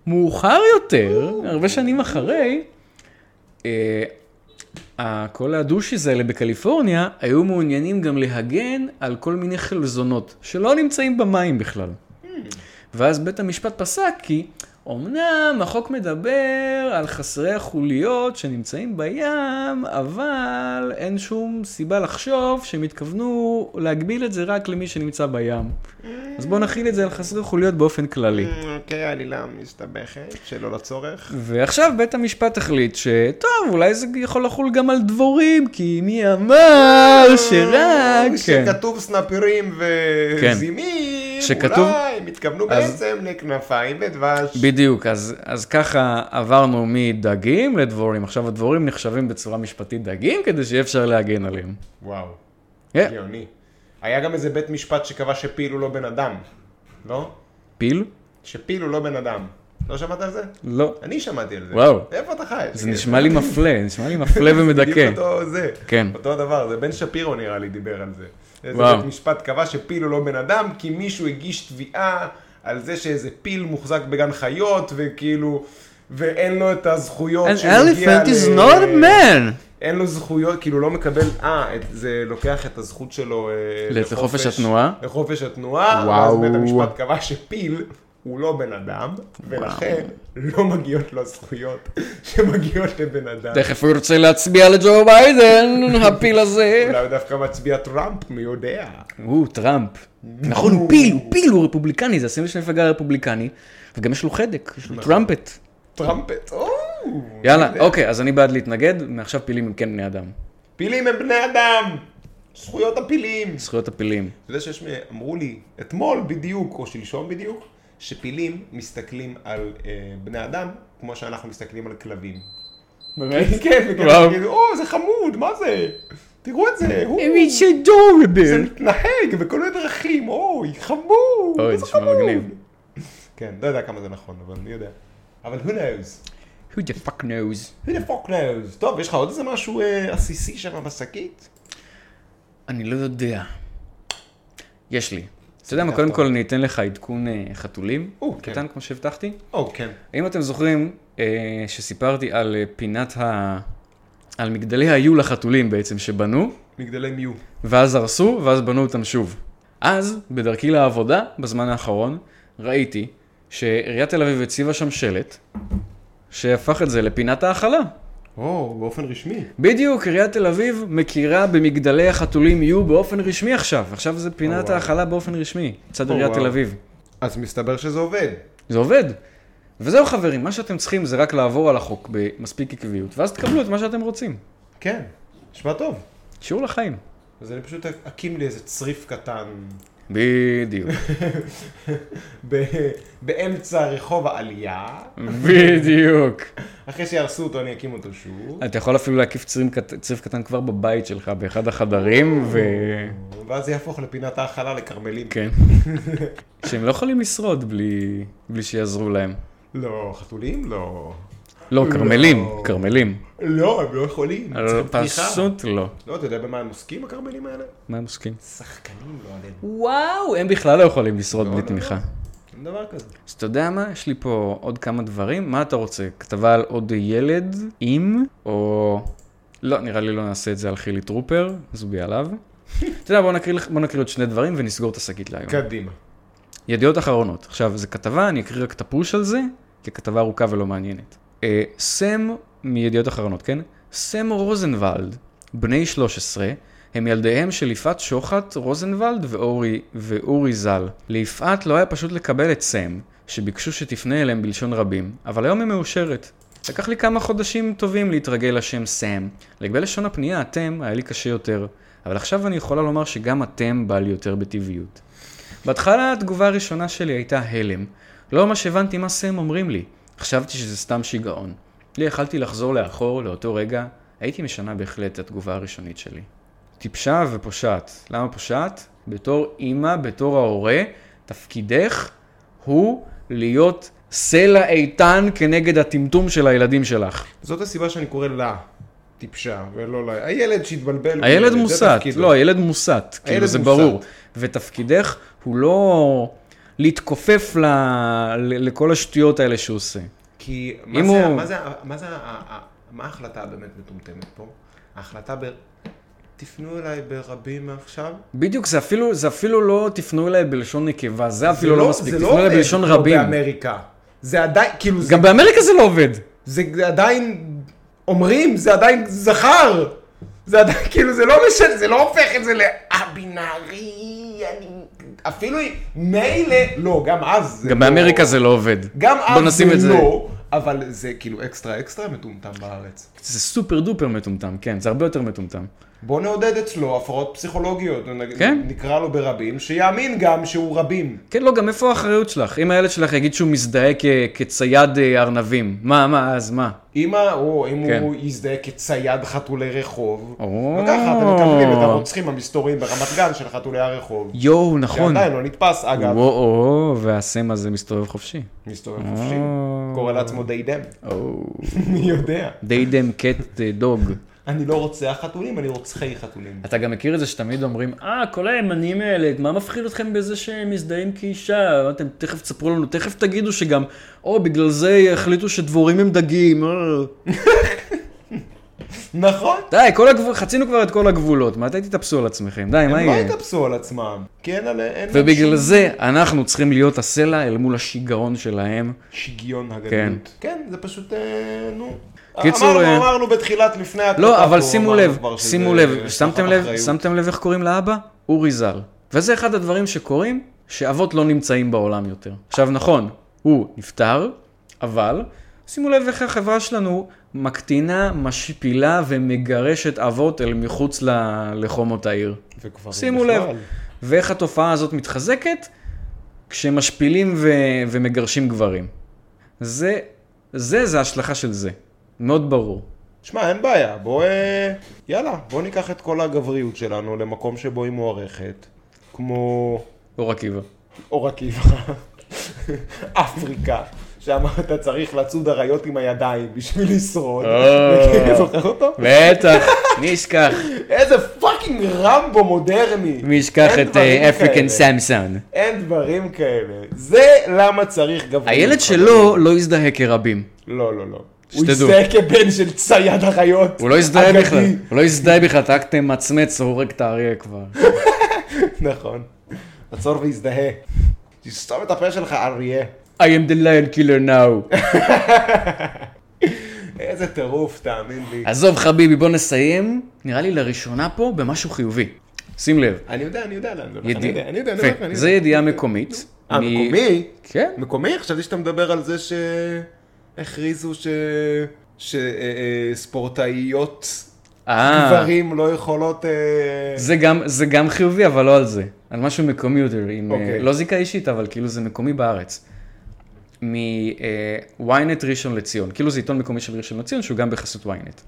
S1: מאוחר יותר, הרבה שנים אחרי, אה, ה- כל הדושיז האלה בקליפורניה היו מעוניינים גם להגן על כל מיני חלזונות שלא נמצאים במים בכלל. ואז בית המשפט פסק כי אמנם החוק מדבר על חסרי החוליות שנמצאים בים, אבל אין שום סיבה לחשוב שהם התכוונו להגביל את זה רק למי שנמצא בים. אז בואו נכיל את זה על חסרי חוליות באופן כללי.
S2: אוקיי, העלילה מסתבכת, שלא לצורך.
S1: ועכשיו בית המשפט החליט שטוב, אולי זה יכול לחול גם על דבורים, כי מי אמר אה,
S2: אה,
S1: שרק... כן.
S2: שכתוב סנפירים וזימים,
S1: שכתוב-
S2: אולי הם התכוונו
S1: אז-
S2: בעצם לכנפיים ודבש.
S1: כן. בדיוק, אז, אז ככה עברנו מדגים לדבורים. עכשיו הדבורים נחשבים בצורה משפטית דגים כדי שיהיה אפשר להגן עליהם.
S2: וואו,
S1: כן,
S2: גאוני. היה גם איזה בית משפט שקבע שפיל הוא לא בן אדם, לא?
S1: פיל?
S2: שפיל הוא לא בן אדם. לא שמעת על זה?
S1: לא.
S2: אני שמעתי על זה.
S1: וואו.
S2: איפה אתה חי?
S1: זה נשמע לי מפלה, נשמע לי מפלה
S2: בדיוק
S1: ומדכא.
S2: אותו זה.
S1: כן.
S2: אותו הדבר, זה בן שפירו נראה לי דיבר על זה. איזה
S1: וואו.
S2: בית משפט קבע שפיל הוא לא בן אדם, כי מישהו הגיש תביעה על זה שאיזה פיל מוחזק בגן חיות, וכאילו, ואין לו את הזכויות
S1: An
S2: שמגיע
S1: elephant is
S2: ל-
S1: not a man!
S2: אין לו זכויות, כאילו לא מקבל, אה, את- זה לוקח את הזכות שלו אה,
S1: לחופש התנועה?
S2: לחופש התנועה, ואז
S1: וואו.
S2: בית המשפט קבע שפיל הוא לא בן אדם, ולכן לא מגיעות לו הזכויות [LAUGHS] שמגיעות לבן אדם.
S1: תכף הוא ירצה להצביע לג'ו ביידן, הפיל הזה.
S2: אולי הוא דווקא מצביע טראמפ, מי יודע.
S1: הוא טראמפ. נכון, הוא פיל, הוא פיל, הוא רפובליקני, זה הסמל של המפלגה הרפובליקני, וגם יש לו חדק, יש לו טראמפט.
S2: טראמפט, או!
S1: יאללה, אוקיי, אז אני בעד להתנגד, מעכשיו פילים הם כן בני אדם.
S2: פילים הם בני אדם! זכויות הפילים!
S1: זכויות הפילים.
S2: אתה יודע שיש, מי- אמרו לי, אתמול בדיוק, או שלשום בדיוק, שפילים מסתכלים על אה, בני אדם כמו שאנחנו מסתכלים על כלבים.
S1: באמת?
S2: כן, וכאילו,
S1: וואו.
S2: כאילו, או, זה חמוד, מה זה? תראו את זה, הוא,
S1: It's
S2: זה
S1: adorable.
S2: מתנהג בכל מיני דרכים, אוי, חמוד,
S1: אוי,
S2: איזה
S1: נשמע
S2: חמוד.
S1: מגניב.
S2: כן, לא יודע כמה זה נכון, אבל מי יודע. אבל who knows?
S1: Who the fuck knows?
S2: who the fuck knows? טוב, יש לך עוד איזה משהו אה, עסיסי שם בשקית?
S1: אני לא יודע. יש לי. אתה יודע מה, קודם כל אני אתן לך עדכון אה, חתולים,
S2: או, כן.
S1: קטן כמו שהבטחתי.
S2: או, כן.
S1: אם אתם זוכרים אה, שסיפרתי על אה, פינת ה... על מגדלי היו לחתולים בעצם שבנו,
S2: מגדלי מיו.
S1: ואז הרסו, ואז בנו אותם שוב. אז, בדרכי לעבודה, בזמן האחרון, ראיתי שעיריית תל אביב הציבה שם שלט, שהפך את זה לפינת האכלה.
S2: או, באופן רשמי.
S1: בדיוק, עיריית תל אביב מכירה במגדלי החתולים יהיו באופן רשמי עכשיו. עכשיו זה פינת
S2: וואו.
S1: ההאכלה באופן רשמי, מצד עיריית
S2: וואו.
S1: תל אביב.
S2: אז מסתבר שזה עובד.
S1: זה עובד. וזהו חברים, מה שאתם צריכים זה רק לעבור על החוק במספיק עקביות, ואז תקבלו את מה שאתם רוצים.
S2: כן, נשמע טוב.
S1: שיעור לחיים.
S2: אז אני פשוט אקים לי איזה צריף קטן.
S1: בדיוק,
S2: ב- [LAUGHS] באמצע רחוב העלייה,
S1: [LAUGHS] בדיוק.
S2: אחרי שיהרסו אותו אני אקים אותו שוב,
S1: אתה יכול אפילו להקיף צריף קט- צריף קטן כבר בבית שלך, באחד החדרים, ו...
S2: ואז זה יהפוך לפינת ההכלה לכרמלים.
S1: כן. שהם לא יכולים לשרוד בלי, בלי שיעזרו להם.
S2: לא, חתולים? לא.
S1: לא, כרמלים,
S2: לא.
S1: כרמלים.
S2: לא, הם לא יכולים, הם צריכים תמיכה.
S1: פשוט לא.
S2: לא, אתה יודע במה הם עוסקים הכרמלים האלה?
S1: מה הם עוסקים?
S2: שחקנים, לא עלינו.
S1: וואו, הם בכלל לא יכולים לשרוד בלי
S2: לא.
S1: תמיכה.
S2: אין דבר כזה.
S1: אז אתה יודע מה? יש לי פה עוד כמה דברים. מה אתה רוצה? כתבה על עוד ילד עם, או... לא, נראה לי לא נעשה את זה על חילי טרופר,
S2: [LAUGHS]
S1: זובי עליו. אתה יודע, בוא נקריא, לך- בוא נקריא עוד שני דברים ונסגור את השקית להיום.
S2: קדימה.
S1: ידיעות אחרונות. עכשיו, זו כתבה, אני אקריא רק את הפוש על זה, כי כתבה ארוכה ולא מעניינת. אה, סם מידיעות אחרונות, כן? סם רוזנוולד, בני 13, הם ילדיהם של יפעת שוחט רוזנוולד ואורי, ואורי ז"ל. ליפעת לא היה פשוט לקבל את סם, שביקשו שתפנה אליהם בלשון רבים, אבל היום היא מאושרת. לקח לי כמה חודשים טובים להתרגל לשם סם. לגבי לשון הפנייה, אתם, היה לי קשה יותר, אבל עכשיו אני יכולה לומר שגם אתם בא לי יותר בטבעיות. בהתחלה התגובה הראשונה שלי הייתה הלם. לא ממש הבנתי מה סם אומרים לי. חשבתי שזה סתם שיגעון. לי יכלתי לחזור לאחור, לאותו רגע, הייתי משנה בהחלט את התגובה הראשונית שלי. טיפשה ופושעת. למה פושעת? בתור אימא, בתור ההורה, תפקידך הוא להיות סלע איתן כנגד הטמטום של הילדים שלך.
S2: זאת הסיבה שאני קורא לה טיפשה, ולא לה... הילד שהתבלבל.
S1: הילד
S2: זה
S1: מוסת,
S2: תפקידו.
S1: לא, הילד מוסת, כאילו
S2: הילד
S1: זה
S2: מוסת.
S1: ברור. ותפקידך הוא לא להתכופף ל... ל- לכל השטויות האלה שהוא עושה.
S2: כי
S1: אם
S2: מה זה,
S1: הוא-
S2: מה זה, ה- מה זה, ה- ה- ה- מה ההחלטה הבאמת מטומטמת פה? ההחלטה ב... תפנו אליי ברבים מעכשיו.
S1: בדיוק, זה אפילו, זה אפילו לא תפנו אליי בלשון נקבה, זה אפילו
S2: זה
S1: לא מספיק,
S2: זה
S1: תפנו אליי
S2: עובד
S1: בלשון
S2: פה
S1: רבים.
S2: באמריקה. זה עדיין, כאילו, זה,
S1: גם באמריקה זה לא עובד.
S2: זה עדיין, אומרים, זה עדיין זכר. זה עדיין, כאילו, זה לא משנה, זה לא הופך את זה ל-הבינארי, אני... אפילו אם- מילא, לא, גם אז. זה
S1: גם
S2: לא-
S1: באמריקה זה לא עובד.
S2: גם
S1: בוא
S2: אז
S1: נשים
S2: זה
S1: את זה.
S2: לא, אבל זה כאילו אקסטרה אקסטרה מטומטם בארץ.
S1: זה סופר דופר מטומטם, כן, זה הרבה יותר מטומטם.
S2: בוא נעודד אצלו הפרעות פסיכולוגיות, נ-
S1: כן.
S2: נקרא לו ברבים, שיאמין גם שהוא רבים.
S1: כן, לא, גם איפה האחריות שלך? אם הילד שלך יגיד שהוא מזדהה כ- כצייד אה, ארנבים, מה, מה, אז מה?
S2: אמא, או אם
S1: כן.
S2: הוא יזדהה כצייד חתולי רחוב,
S1: או.
S2: וככה אתם מקבלים את הרוצחים המסתוריים ברמת גן של חתולי הרחוב.
S1: יואו, נכון.
S2: שעדיין לא נתפס, אגב,
S1: וואו, והסם הזה מסתובב חופשי.
S2: מסתובב חופשי, קורא לעצמו דיידם, [LAUGHS] מי יודע.
S1: די דם קט דוג.
S2: אני לא רוצח חתולים, אני רוצחי חתולים.
S1: אתה גם מכיר את זה שתמיד אומרים, אה, כל הימנים האלה, מה מפחיד אתכם בזה שהם מזדהים כאישה? אתם תכף תספרו לנו, תכף תגידו שגם, או, בגלל זה החליטו שדבורים הם דגים. אה."
S2: נכון.
S1: די, כל הגבול, חצינו כבר את כל הגבולות, מתי תתאפסו על עצמכם? די, מה
S2: הם לא
S1: יהיה?
S2: יתאפסו על עצמם, כי אין עליהם אין להם
S1: ובגלל
S2: שום
S1: זה אנחנו צריכים להיות הסלע אל מול השיגעון שלהם.
S2: שיגיון הגדלות.
S1: כן.
S2: כן. כן, זה פשוט, אה, נו.
S1: קיצור,
S2: קיצור... אמרנו,
S1: אה,
S2: אמרנו בתחילת, לפני הקטע
S1: לא, אבל
S2: פה,
S1: שימו
S2: אמרנו
S1: לב,
S2: כבר שזה
S1: שימו לב,
S2: השלכת
S1: שמתם לב,
S2: אחריות.
S1: שמתם לב איך קוראים לאבא? אורי ז"ל. וזה אחד הדברים שקורים, שאבות לא נמצאים בעולם יותר. עכשיו נכון, הוא נפטר, אבל שימו לב איך החברה שלנו מקטינה, משפילה ומגרשת אבות אל מחוץ ל- לחומות העיר.
S2: וכבר
S1: שימו לב,
S2: בכלל.
S1: ואיך התופעה הזאת מתחזקת כשמשפילים ו- ומגרשים גברים. זה, זה, זה ההשלכה של זה. מאוד ברור.
S2: שמע, אין בעיה, בוא, אה, יאללה, בוא ניקח את כל הגבריות שלנו למקום שבו היא מוערכת, כמו
S1: אור עקיבא.
S2: אור עקיבא, [LAUGHS] אפריקה. שם אתה צריך לצוד אריות עם הידיים בשביל לשרוד.
S1: אה.
S2: זוכר אותו?
S1: בטח, [LAUGHS] מי ישכח?
S2: איזה פאקינג רמבו מודרני.
S1: מי ישכח
S2: אין
S1: את אה,
S2: דברים
S1: אפריקן
S2: כאלה.
S1: סמסון?
S2: אין דברים כאלה. זה למה צריך גבריות.
S1: הילד
S2: חברים.
S1: שלו לא הזדהה כרבים.
S2: לא, לא, לא. הוא
S1: שתדעו.
S2: יזדהה כבן של צייד אריות.
S1: הוא לא הזדהה
S2: אגדי.
S1: בכלל. הוא לא הזדהה בכלל, אתה רק תמצמץ, הוא הורג את האריה כבר.
S2: נכון. עצור ויזדהה. תסתום את הפה שלך, אריה.
S1: I am the lion killer
S2: [LAUGHS]
S1: now.
S2: איזה טירוף, תאמין לי.
S1: עזוב חביבי, בוא נסיים. נראה לי לראשונה פה במשהו חיובי. שים לב.
S2: אני יודע, אני יודע לאן זה הולך. אני
S1: ידיעה.
S2: יודע, אני יודע, אני
S1: יפה.
S2: יודע. אני
S1: זה
S2: יודע.
S1: ידיעה מקומית.
S2: אה,
S1: מ-
S2: מקומי?
S1: כן.
S2: מקומי? חשבתי שאתה מדבר על זה שהכריזו שספורטאיות
S1: אה,
S2: אה, גברים לא יכולות... אה,
S1: זה גם, זה גם חיובי, אבל לא על זה. על משהו מקומי יותר, עם, okay.
S2: אוקיי.
S1: לא זיקה אישית, אבל כאילו זה מקומי בארץ. מ-ynet ראשון לציון, כאילו זה עיתון מקומי של ראשון לציון, שהוא גם בחסות ynet.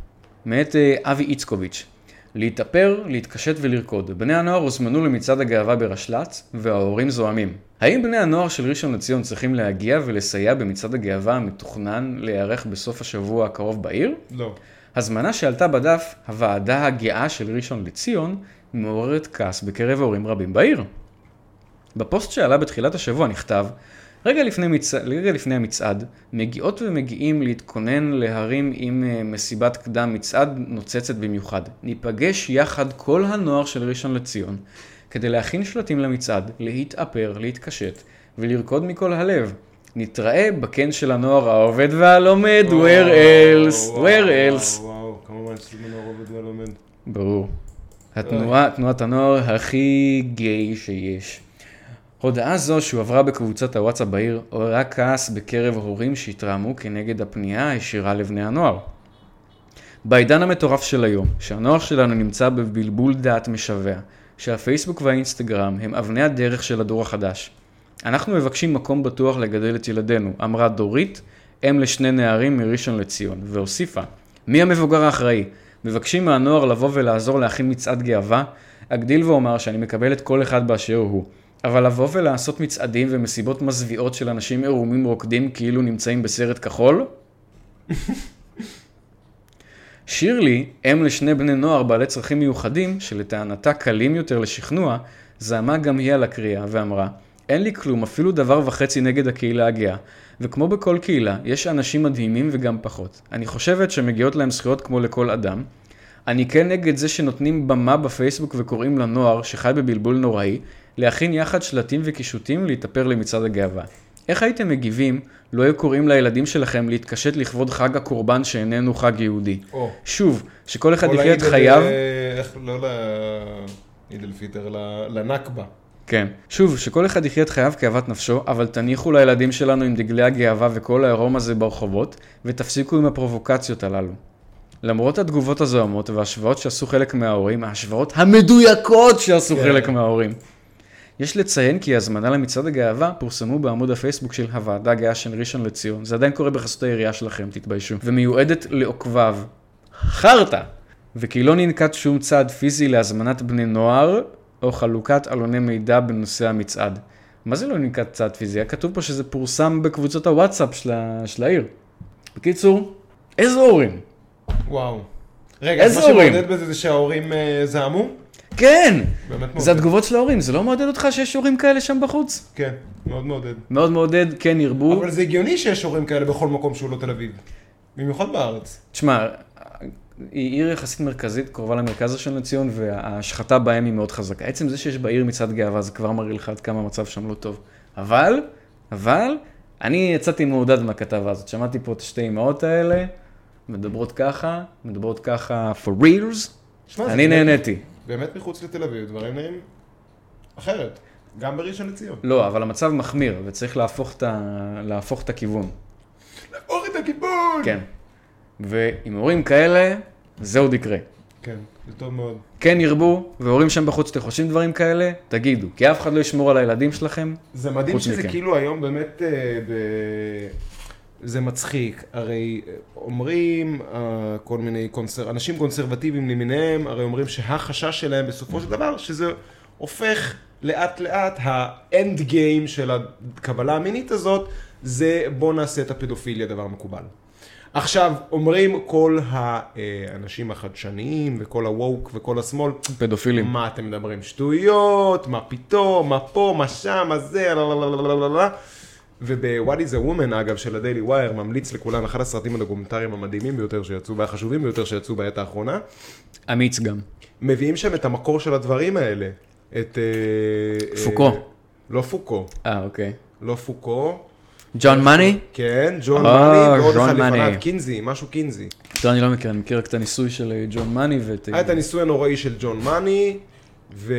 S1: מאת אה, אבי איצקוביץ', להתאפר, להתקשט ולרקוד. בני הנוער הוזמנו למצעד הגאווה ברשל"צ, וההורים זועמים. האם בני הנוער של ראשון לציון צריכים להגיע ולסייע במצעד הגאווה המתוכנן להיערך בסוף השבוע הקרוב בעיר?
S2: לא.
S1: הזמנה שעלתה בדף הוועדה הגאה של ראשון לציון מעוררת כעס בקרב הורים רבים בעיר. בפוסט שעלה בתחילת השבוע נכתב רגע לפני, מצ... רגע לפני המצעד, מגיעות ומגיעים להתכונן להרים עם אה, מסיבת קדם מצעד נוצצת במיוחד. ניפגש יחד כל הנוער של ראשון לציון כדי להכין שלטים למצעד, להתאפר, להתקשט ולרקוד מכל הלב. נתראה בקן של הנוער העובד והלומד, where else,
S2: וואו,
S1: where
S2: וואו,
S1: else.
S2: וואו, לא כמה מעצבן הנוער עובד ולומד.
S1: ברור. התנועה, תנועת הנוער הכי גיי שיש. הודעה זו שהועברה בקבוצת הוואטסאפ בעיר עוררה כעס בקרב הורים שהתרעמו כנגד הפנייה הישירה לבני הנוער. בעידן המטורף של היום, שהנוער שלנו נמצא בבלבול דעת משווע, שהפייסבוק והאינסטגרם הם אבני הדרך של הדור החדש. אנחנו מבקשים מקום בטוח לגדל את ילדינו, אמרה דורית, אם לשני נערים מראשון לציון, והוסיפה, מי המבוגר האחראי? מבקשים מהנוער לבוא ולעזור להכין מצעד גאווה? אגדיל ואומר שאני מקבל את כל אחד באשר הוא, אבל לבוא ולעשות מצעדים ומסיבות מזוויעות של אנשים עירומים רוקדים כאילו נמצאים בסרט כחול? שירלי, אם לשני בני נוער בעלי צרכים מיוחדים, שלטענתה קלים יותר לשכנוע, זעמה גם היא על הקריאה ואמרה, אין לי כלום, אפילו דבר וחצי נגד הקהילה הגאה. וכמו בכל קהילה, יש אנשים מדהימים וגם פחות. אני חושבת שמגיעות להם זכויות כמו לכל אדם. אני כן נגד זה שנותנים במה בפייסבוק וקוראים לנוער, שחי בבלבול נוראי, להכין יחד שלטים וקישוטים להתאפר למצעד הגאווה. איך הייתם מגיבים לא היו קוראים לילדים שלכם להתקשט לכבוד חג הקורבן שאיננו חג יהודי?
S2: או.
S1: שוב, שכל אחד
S2: או
S1: יחיה
S2: לעיד
S1: את
S2: אל-
S1: חייו.
S2: איך, לא לעיד אל פיטר, ל- לנכבה.
S1: כן. שוב, שכל אחד יחיה את חייו כאוות נפשו, אבל תניחו לילדים שלנו עם דגלי הגאווה וכל העירום הזה ברחובות, ותפסיקו עם הפרובוקציות הללו. למרות התגובות הזוהמות וההשוואות שעשו חלק מההורים, ההשוואות המדויקות
S2: כן.
S1: שעשו חלק מההורים. יש לציין כי ההזמנה למצעד הגאווה פורסמו בעמוד הפייסבוק של הוועדה הגאה של ראשון לציון. זה עדיין קורה בחסות העירייה שלכם, תתביישו. ומיועדת לעוקביו. חרטא! וכי לא ננקט שום צעד פיזי להזמנת בני נוער או חלוקת עלוני מידע בנושא המצעד. מה זה לא ננקט צעד פיזי? היה כתוב פה שזה פורסם בקבוצות הוואטסאפ של, ה... של העיר. בקיצור, איזה הורים?
S2: וואו. רגע, אז
S1: איזה
S2: מה
S1: הורים?
S2: שמעודד בזה זה שההורים אה, זעמו?
S1: כן!
S2: באמת מעודד.
S1: זה התגובות של ההורים, זה לא מעודד אותך שיש הורים כאלה שם בחוץ?
S2: כן, מאוד מעודד.
S1: מאוד מעודד, כן ירבו.
S2: אבל זה הגיוני שיש הורים כאלה בכל מקום שהוא לא תל אביב. במיוחד בארץ.
S1: תשמע, היא עיר יחסית מרכזית, קרובה למרכז ראשון לציון, וההשחתה בהם היא מאוד חזקה. עצם זה שיש בעיר מצעד גאווה, זה כבר מראה לך עד כמה המצב שם לא טוב. אבל, אבל, אני יצאתי מעודד מהכתבה הזאת. שמעתי פה את השתי אמהות האלה, מדברות ככה, מדברות ככה for reals.
S2: שמע, זה
S1: אני
S2: באמת-
S1: נהניתי.
S2: באמת מחוץ לתל אביב, דברים נראים אחרת. גם בראשון לציון.
S1: לא, אבל המצב מחמיר, וצריך להפוך את, ה... להפוך את הכיוון.
S2: אורי את הכיבול!
S1: כן. ועם הורים כאלה, זה עוד יקרה.
S2: כן, זה טוב מאוד.
S1: כן ירבו, והורים שם בחוץ, אתם חושבים דברים כאלה, תגידו, כי אף אחד לא ישמור על הילדים שלכם.
S2: זה מדהים
S1: חוץ
S2: שזה
S1: מכם.
S2: כאילו היום באמת, אה, ב... זה מצחיק, הרי אה, אומרים אה, כל מיני קונסר... אנשים קונסרבטיביים למיניהם, הרי אומרים שהחשש שלהם בסופו של דבר, שזה הופך לאט לאט, האנד גיים של הקבלה המינית הזאת, זה בוא נעשה את הפדופיליה דבר מקובל. עכשיו, אומרים כל האנשים החדשניים וכל הווק וכל השמאל,
S1: פדופילים.
S2: מה אתם מדברים? שטויות, מה פתאום, מה פה, מה שם, מה זה, לא, לא, לא, לא, לא, לא, לא. וב-What is a Woman, אגב, של הדיילי ווייר, ממליץ לכולם אחד הסרטים הדוקומנטריים המדהימים ביותר שיצאו, והחשובים ביותר שיצאו בעת האחרונה.
S1: אמיץ גם.
S2: מביאים שם את המקור של הדברים האלה. את... אה,
S1: פוקו.
S2: אה, לא פוקו.
S1: אה, אוקיי.
S2: לא פוקו.
S1: ג'ון מאני?
S2: כן, ג'ון
S1: אה,
S2: מאני, ועוד
S1: ג'ון
S2: אחד
S1: מאני.
S2: לפניו, קינזי, משהו קינזי.
S1: טוב, אני לא מכיר, אני מכיר רק את הניסוי של אה, ג'ון מאני ואת...
S2: היה את הניסוי הנוראי של ג'ון מאני, ו...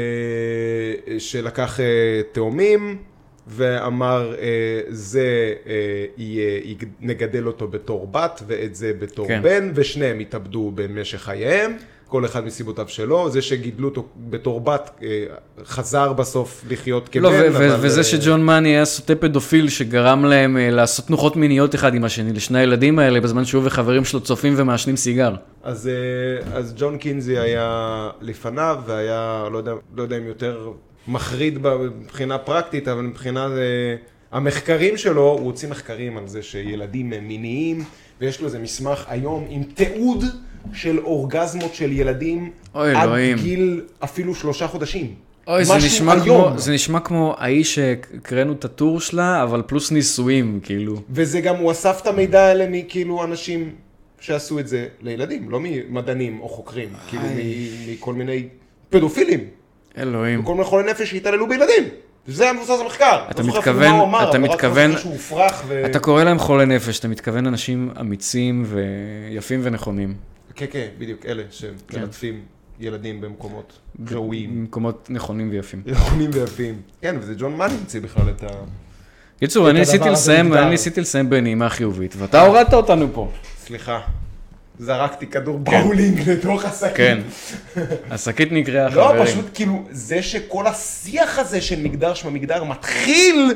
S2: שלקח אה, תאומים, ואמר, אה, זה אה, יהיה, יג- נגדל אותו בתור בת, ואת זה בתור
S1: כן.
S2: בן, ושניהם התאבדו במשך חייהם. כל אחד מסיבותיו שלו, זה שגידלו אותו בתור בת, אה, חזר בסוף לחיות כבן,
S1: לא, ו- ו-
S2: אבל,
S1: וזה
S2: אה,
S1: שג'ון מאני היה סוטה פדופיל שגרם להם אה, לעשות תנוחות מיניות אחד עם השני, לשני הילדים האלה, בזמן שהוא וחברים שלו צופים ומעשנים סיגר.
S2: אז, אה, אז ג'ון קינזי היה לפניו, והיה, לא יודע, לא יודע אם יותר מחריד ב- מבחינה פרקטית, אבל מבחינה... אה, המחקרים שלו, הוא הוציא מחקרים על זה שילדים הם מיניים, ויש לו איזה מסמך היום עם תיעוד של אורגזמות של ילדים
S1: אוי,
S2: עד
S1: אלוהים.
S2: גיל אפילו שלושה חודשים.
S1: אוי, זה
S2: משהו
S1: נשמע,
S2: היום.
S1: כמו, זה נשמע כמו האיש שהקראנו את הטור שלה, אבל פלוס נישואים, כאילו.
S2: וזה גם, הוא אסף את המידע האלה מכאילו אנשים שעשו את זה לילדים, לא ממדענים או חוקרים, כאילו מ- מכל מיני פדופילים,
S1: אלוהים.
S2: מכל מיני חולי נפש שהתעללו בילדים. זה המבוסס על המחקר.
S1: אתה
S2: לא זוכר אפילו
S1: מתכוון-
S2: מה הוא אמר,
S1: אתה
S2: אבל רק
S1: מתכוון-
S2: משהו שהוא הופרך ו...
S1: אתה קורא להם חולי נפש, אתה מתכוון אנשים אמיצים ויפים ונכונים.
S2: כן, כן, בדיוק, אלה שמלטפים ילדים במקומות ראויים.
S1: במקומות נכונים ויפים.
S2: נכונים ויפים. כן, וזה ג'ון מאני המציא בכלל את ה...
S1: קיצור, אני
S2: הדבר הזה
S1: ניסיתי
S2: אה.
S1: לסיים,
S2: מוגדר.
S1: אני ניסיתי לסיים בנעימה חיובית, ואתה הורדת אותנו פה.
S2: סליחה, זרקתי כדור באולינג לתוך הסכין.
S1: כן. [LAUGHS] השקית נקרעה,
S2: לא,
S1: חברים.
S2: פשוט כאילו, זה שכל השיח הזה של מגדר שמה מגדר מתחיל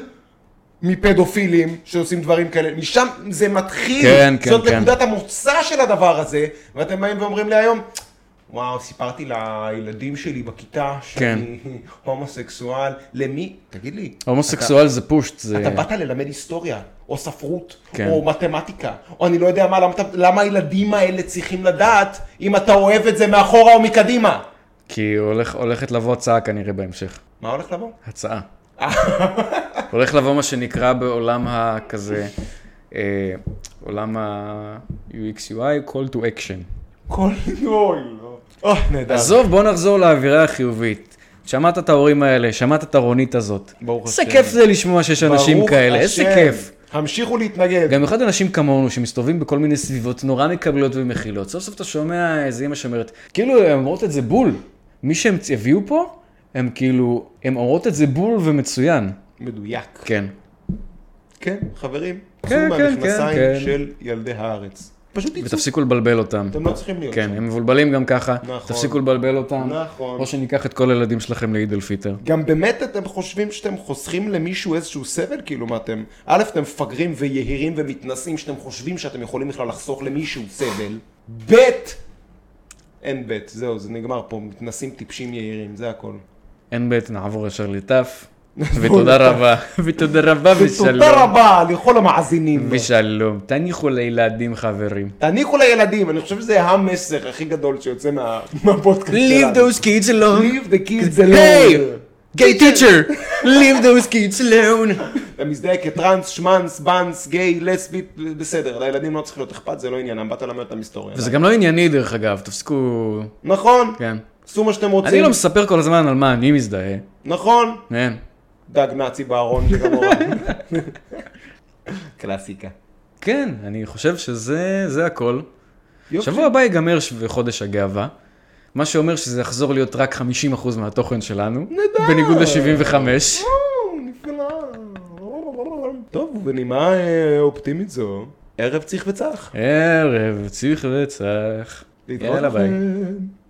S2: מפדופילים שעושים דברים כאלה, משם זה מתחיל,
S1: כן, כן,
S2: זאת
S1: כן.
S2: נקודת המוצא של הדבר הזה, ואתם באים ואומרים לי היום, וואו, סיפרתי לילדים שלי בכיתה
S1: כן.
S2: שאני הומוסקסואל, למי? תגיד לי.
S1: הומוסקסואל זה פושט, זה...
S2: אתה באת ללמד היסטוריה, או ספרות,
S1: אה. כן.
S2: או מתמטיקה, או אני לא יודע מה, למה, אתה- למה הילדים האלה צריכים לדעת אם אתה אוהב את זה מאחורה או מקדימה?
S1: כי הולך- הולכת לבוא הצעה כנראה בהמשך.
S2: מה הולך לבוא?
S1: הצעה.
S2: אה.
S1: [LAUGHS] הולך לבוא מה שנקרא בעולם הכזה, אה, עולם ה-UX-UI, call to action.
S2: כל... אוי, לא. אוי, נהדר.
S1: עזוב, בוא נחזור לאווירה החיובית. שמעת את ההורים האלה, שמעת את הרונית הזאת.
S2: ברוך
S1: איזה
S2: השם.
S1: כיף זה לשמוע שיש אנשים
S2: ברוך
S1: כאלה, איזה
S2: השם. כן.
S1: כיף.
S2: המשיכו להתנגד.
S1: גם במיוחד אנשים כמונו שמסתובבים בכל מיני סביבות נורא מקבלות ומכילות. סוף סוף אתה שומע איזה אימא שאומרת, כאילו הן אומרות את זה בול. מי שהם הביאו פה, הם כאילו, הן אומרות את זה בול ומצוין.
S2: מדויק.
S1: כן.
S2: כן, חברים.
S1: כן,
S2: צאו
S1: כן,
S2: מהמכנסיים
S1: כן, כן.
S2: של ילדי הארץ. פשוט תצאו.
S1: ותפסיקו לבלבל אותם.
S2: אתם לא צריכים להיות.
S1: כן,
S2: שם.
S1: הם מבולבלים גם ככה.
S2: נכון.
S1: תפסיקו לבלבל אותם.
S2: נכון.
S1: או שניקח את כל הילדים שלכם לעיד אל פיטר.
S2: גם באמת אתם חושבים שאתם חוסכים למישהו איזשהו סבל? כאילו מה אתם, א', אתם מפגרים ויהירים ומתנשאים שאתם חושבים שאתם יכולים בכלל לחסוך למישהו סבל, ב', אין ב', זהו, זה נגמר פה, מתנשאים טיפשים יהירים, זה הכל.
S1: אין בית, נעבור ישר
S2: [LAUGHS]
S1: לטף. ותודה רבה. ותודה רבה ושלום.
S2: ותודה רבה לכל המאזינים.
S1: ושלום. תניחו לילדים חברים.
S2: תניחו לילדים, אני חושב שזה המסר הכי גדול שיוצא מה- [LAUGHS] מהפודקאסט שלנו.
S1: kids alone.
S2: Leave the kids
S1: היי!
S2: alone. [LAUGHS]
S1: גיי טיצ'ר! Leave those kids alone.
S2: אתה מזדהה כטראנס, שמאנס, באנס, גיי, לסבית, בסדר, לילדים לא צריך להיות אכפת, זה לא עניינם, באת ללמד אותם היסטוריה.
S1: וזה גם לא ענייני דרך אגב, תפסיקו...
S2: נכון,
S1: כן.
S2: עשו מה שאתם רוצים.
S1: אני לא מספר כל הזמן על מה אני מזדהה.
S2: נכון,
S1: כן.
S2: דג נאצי בארון שכמובן.
S1: [LAUGHS]
S2: קלאסיקה.
S1: כן, אני חושב שזה זה הכל.
S2: אוקיי. יופי.
S1: שבוע הבא ייגמר ש- חודש הגאווה, מה שאומר שזה יחזור להיות רק 50% מהתוכן שלנו, בניגוד ל-75.
S2: או, נפלא. טוב, בנימה אה, אופטימית זו, ערב צריך וצח.
S1: ערב, צריך וצח.
S2: להתראות
S1: יאללה, ביי.
S2: לכם.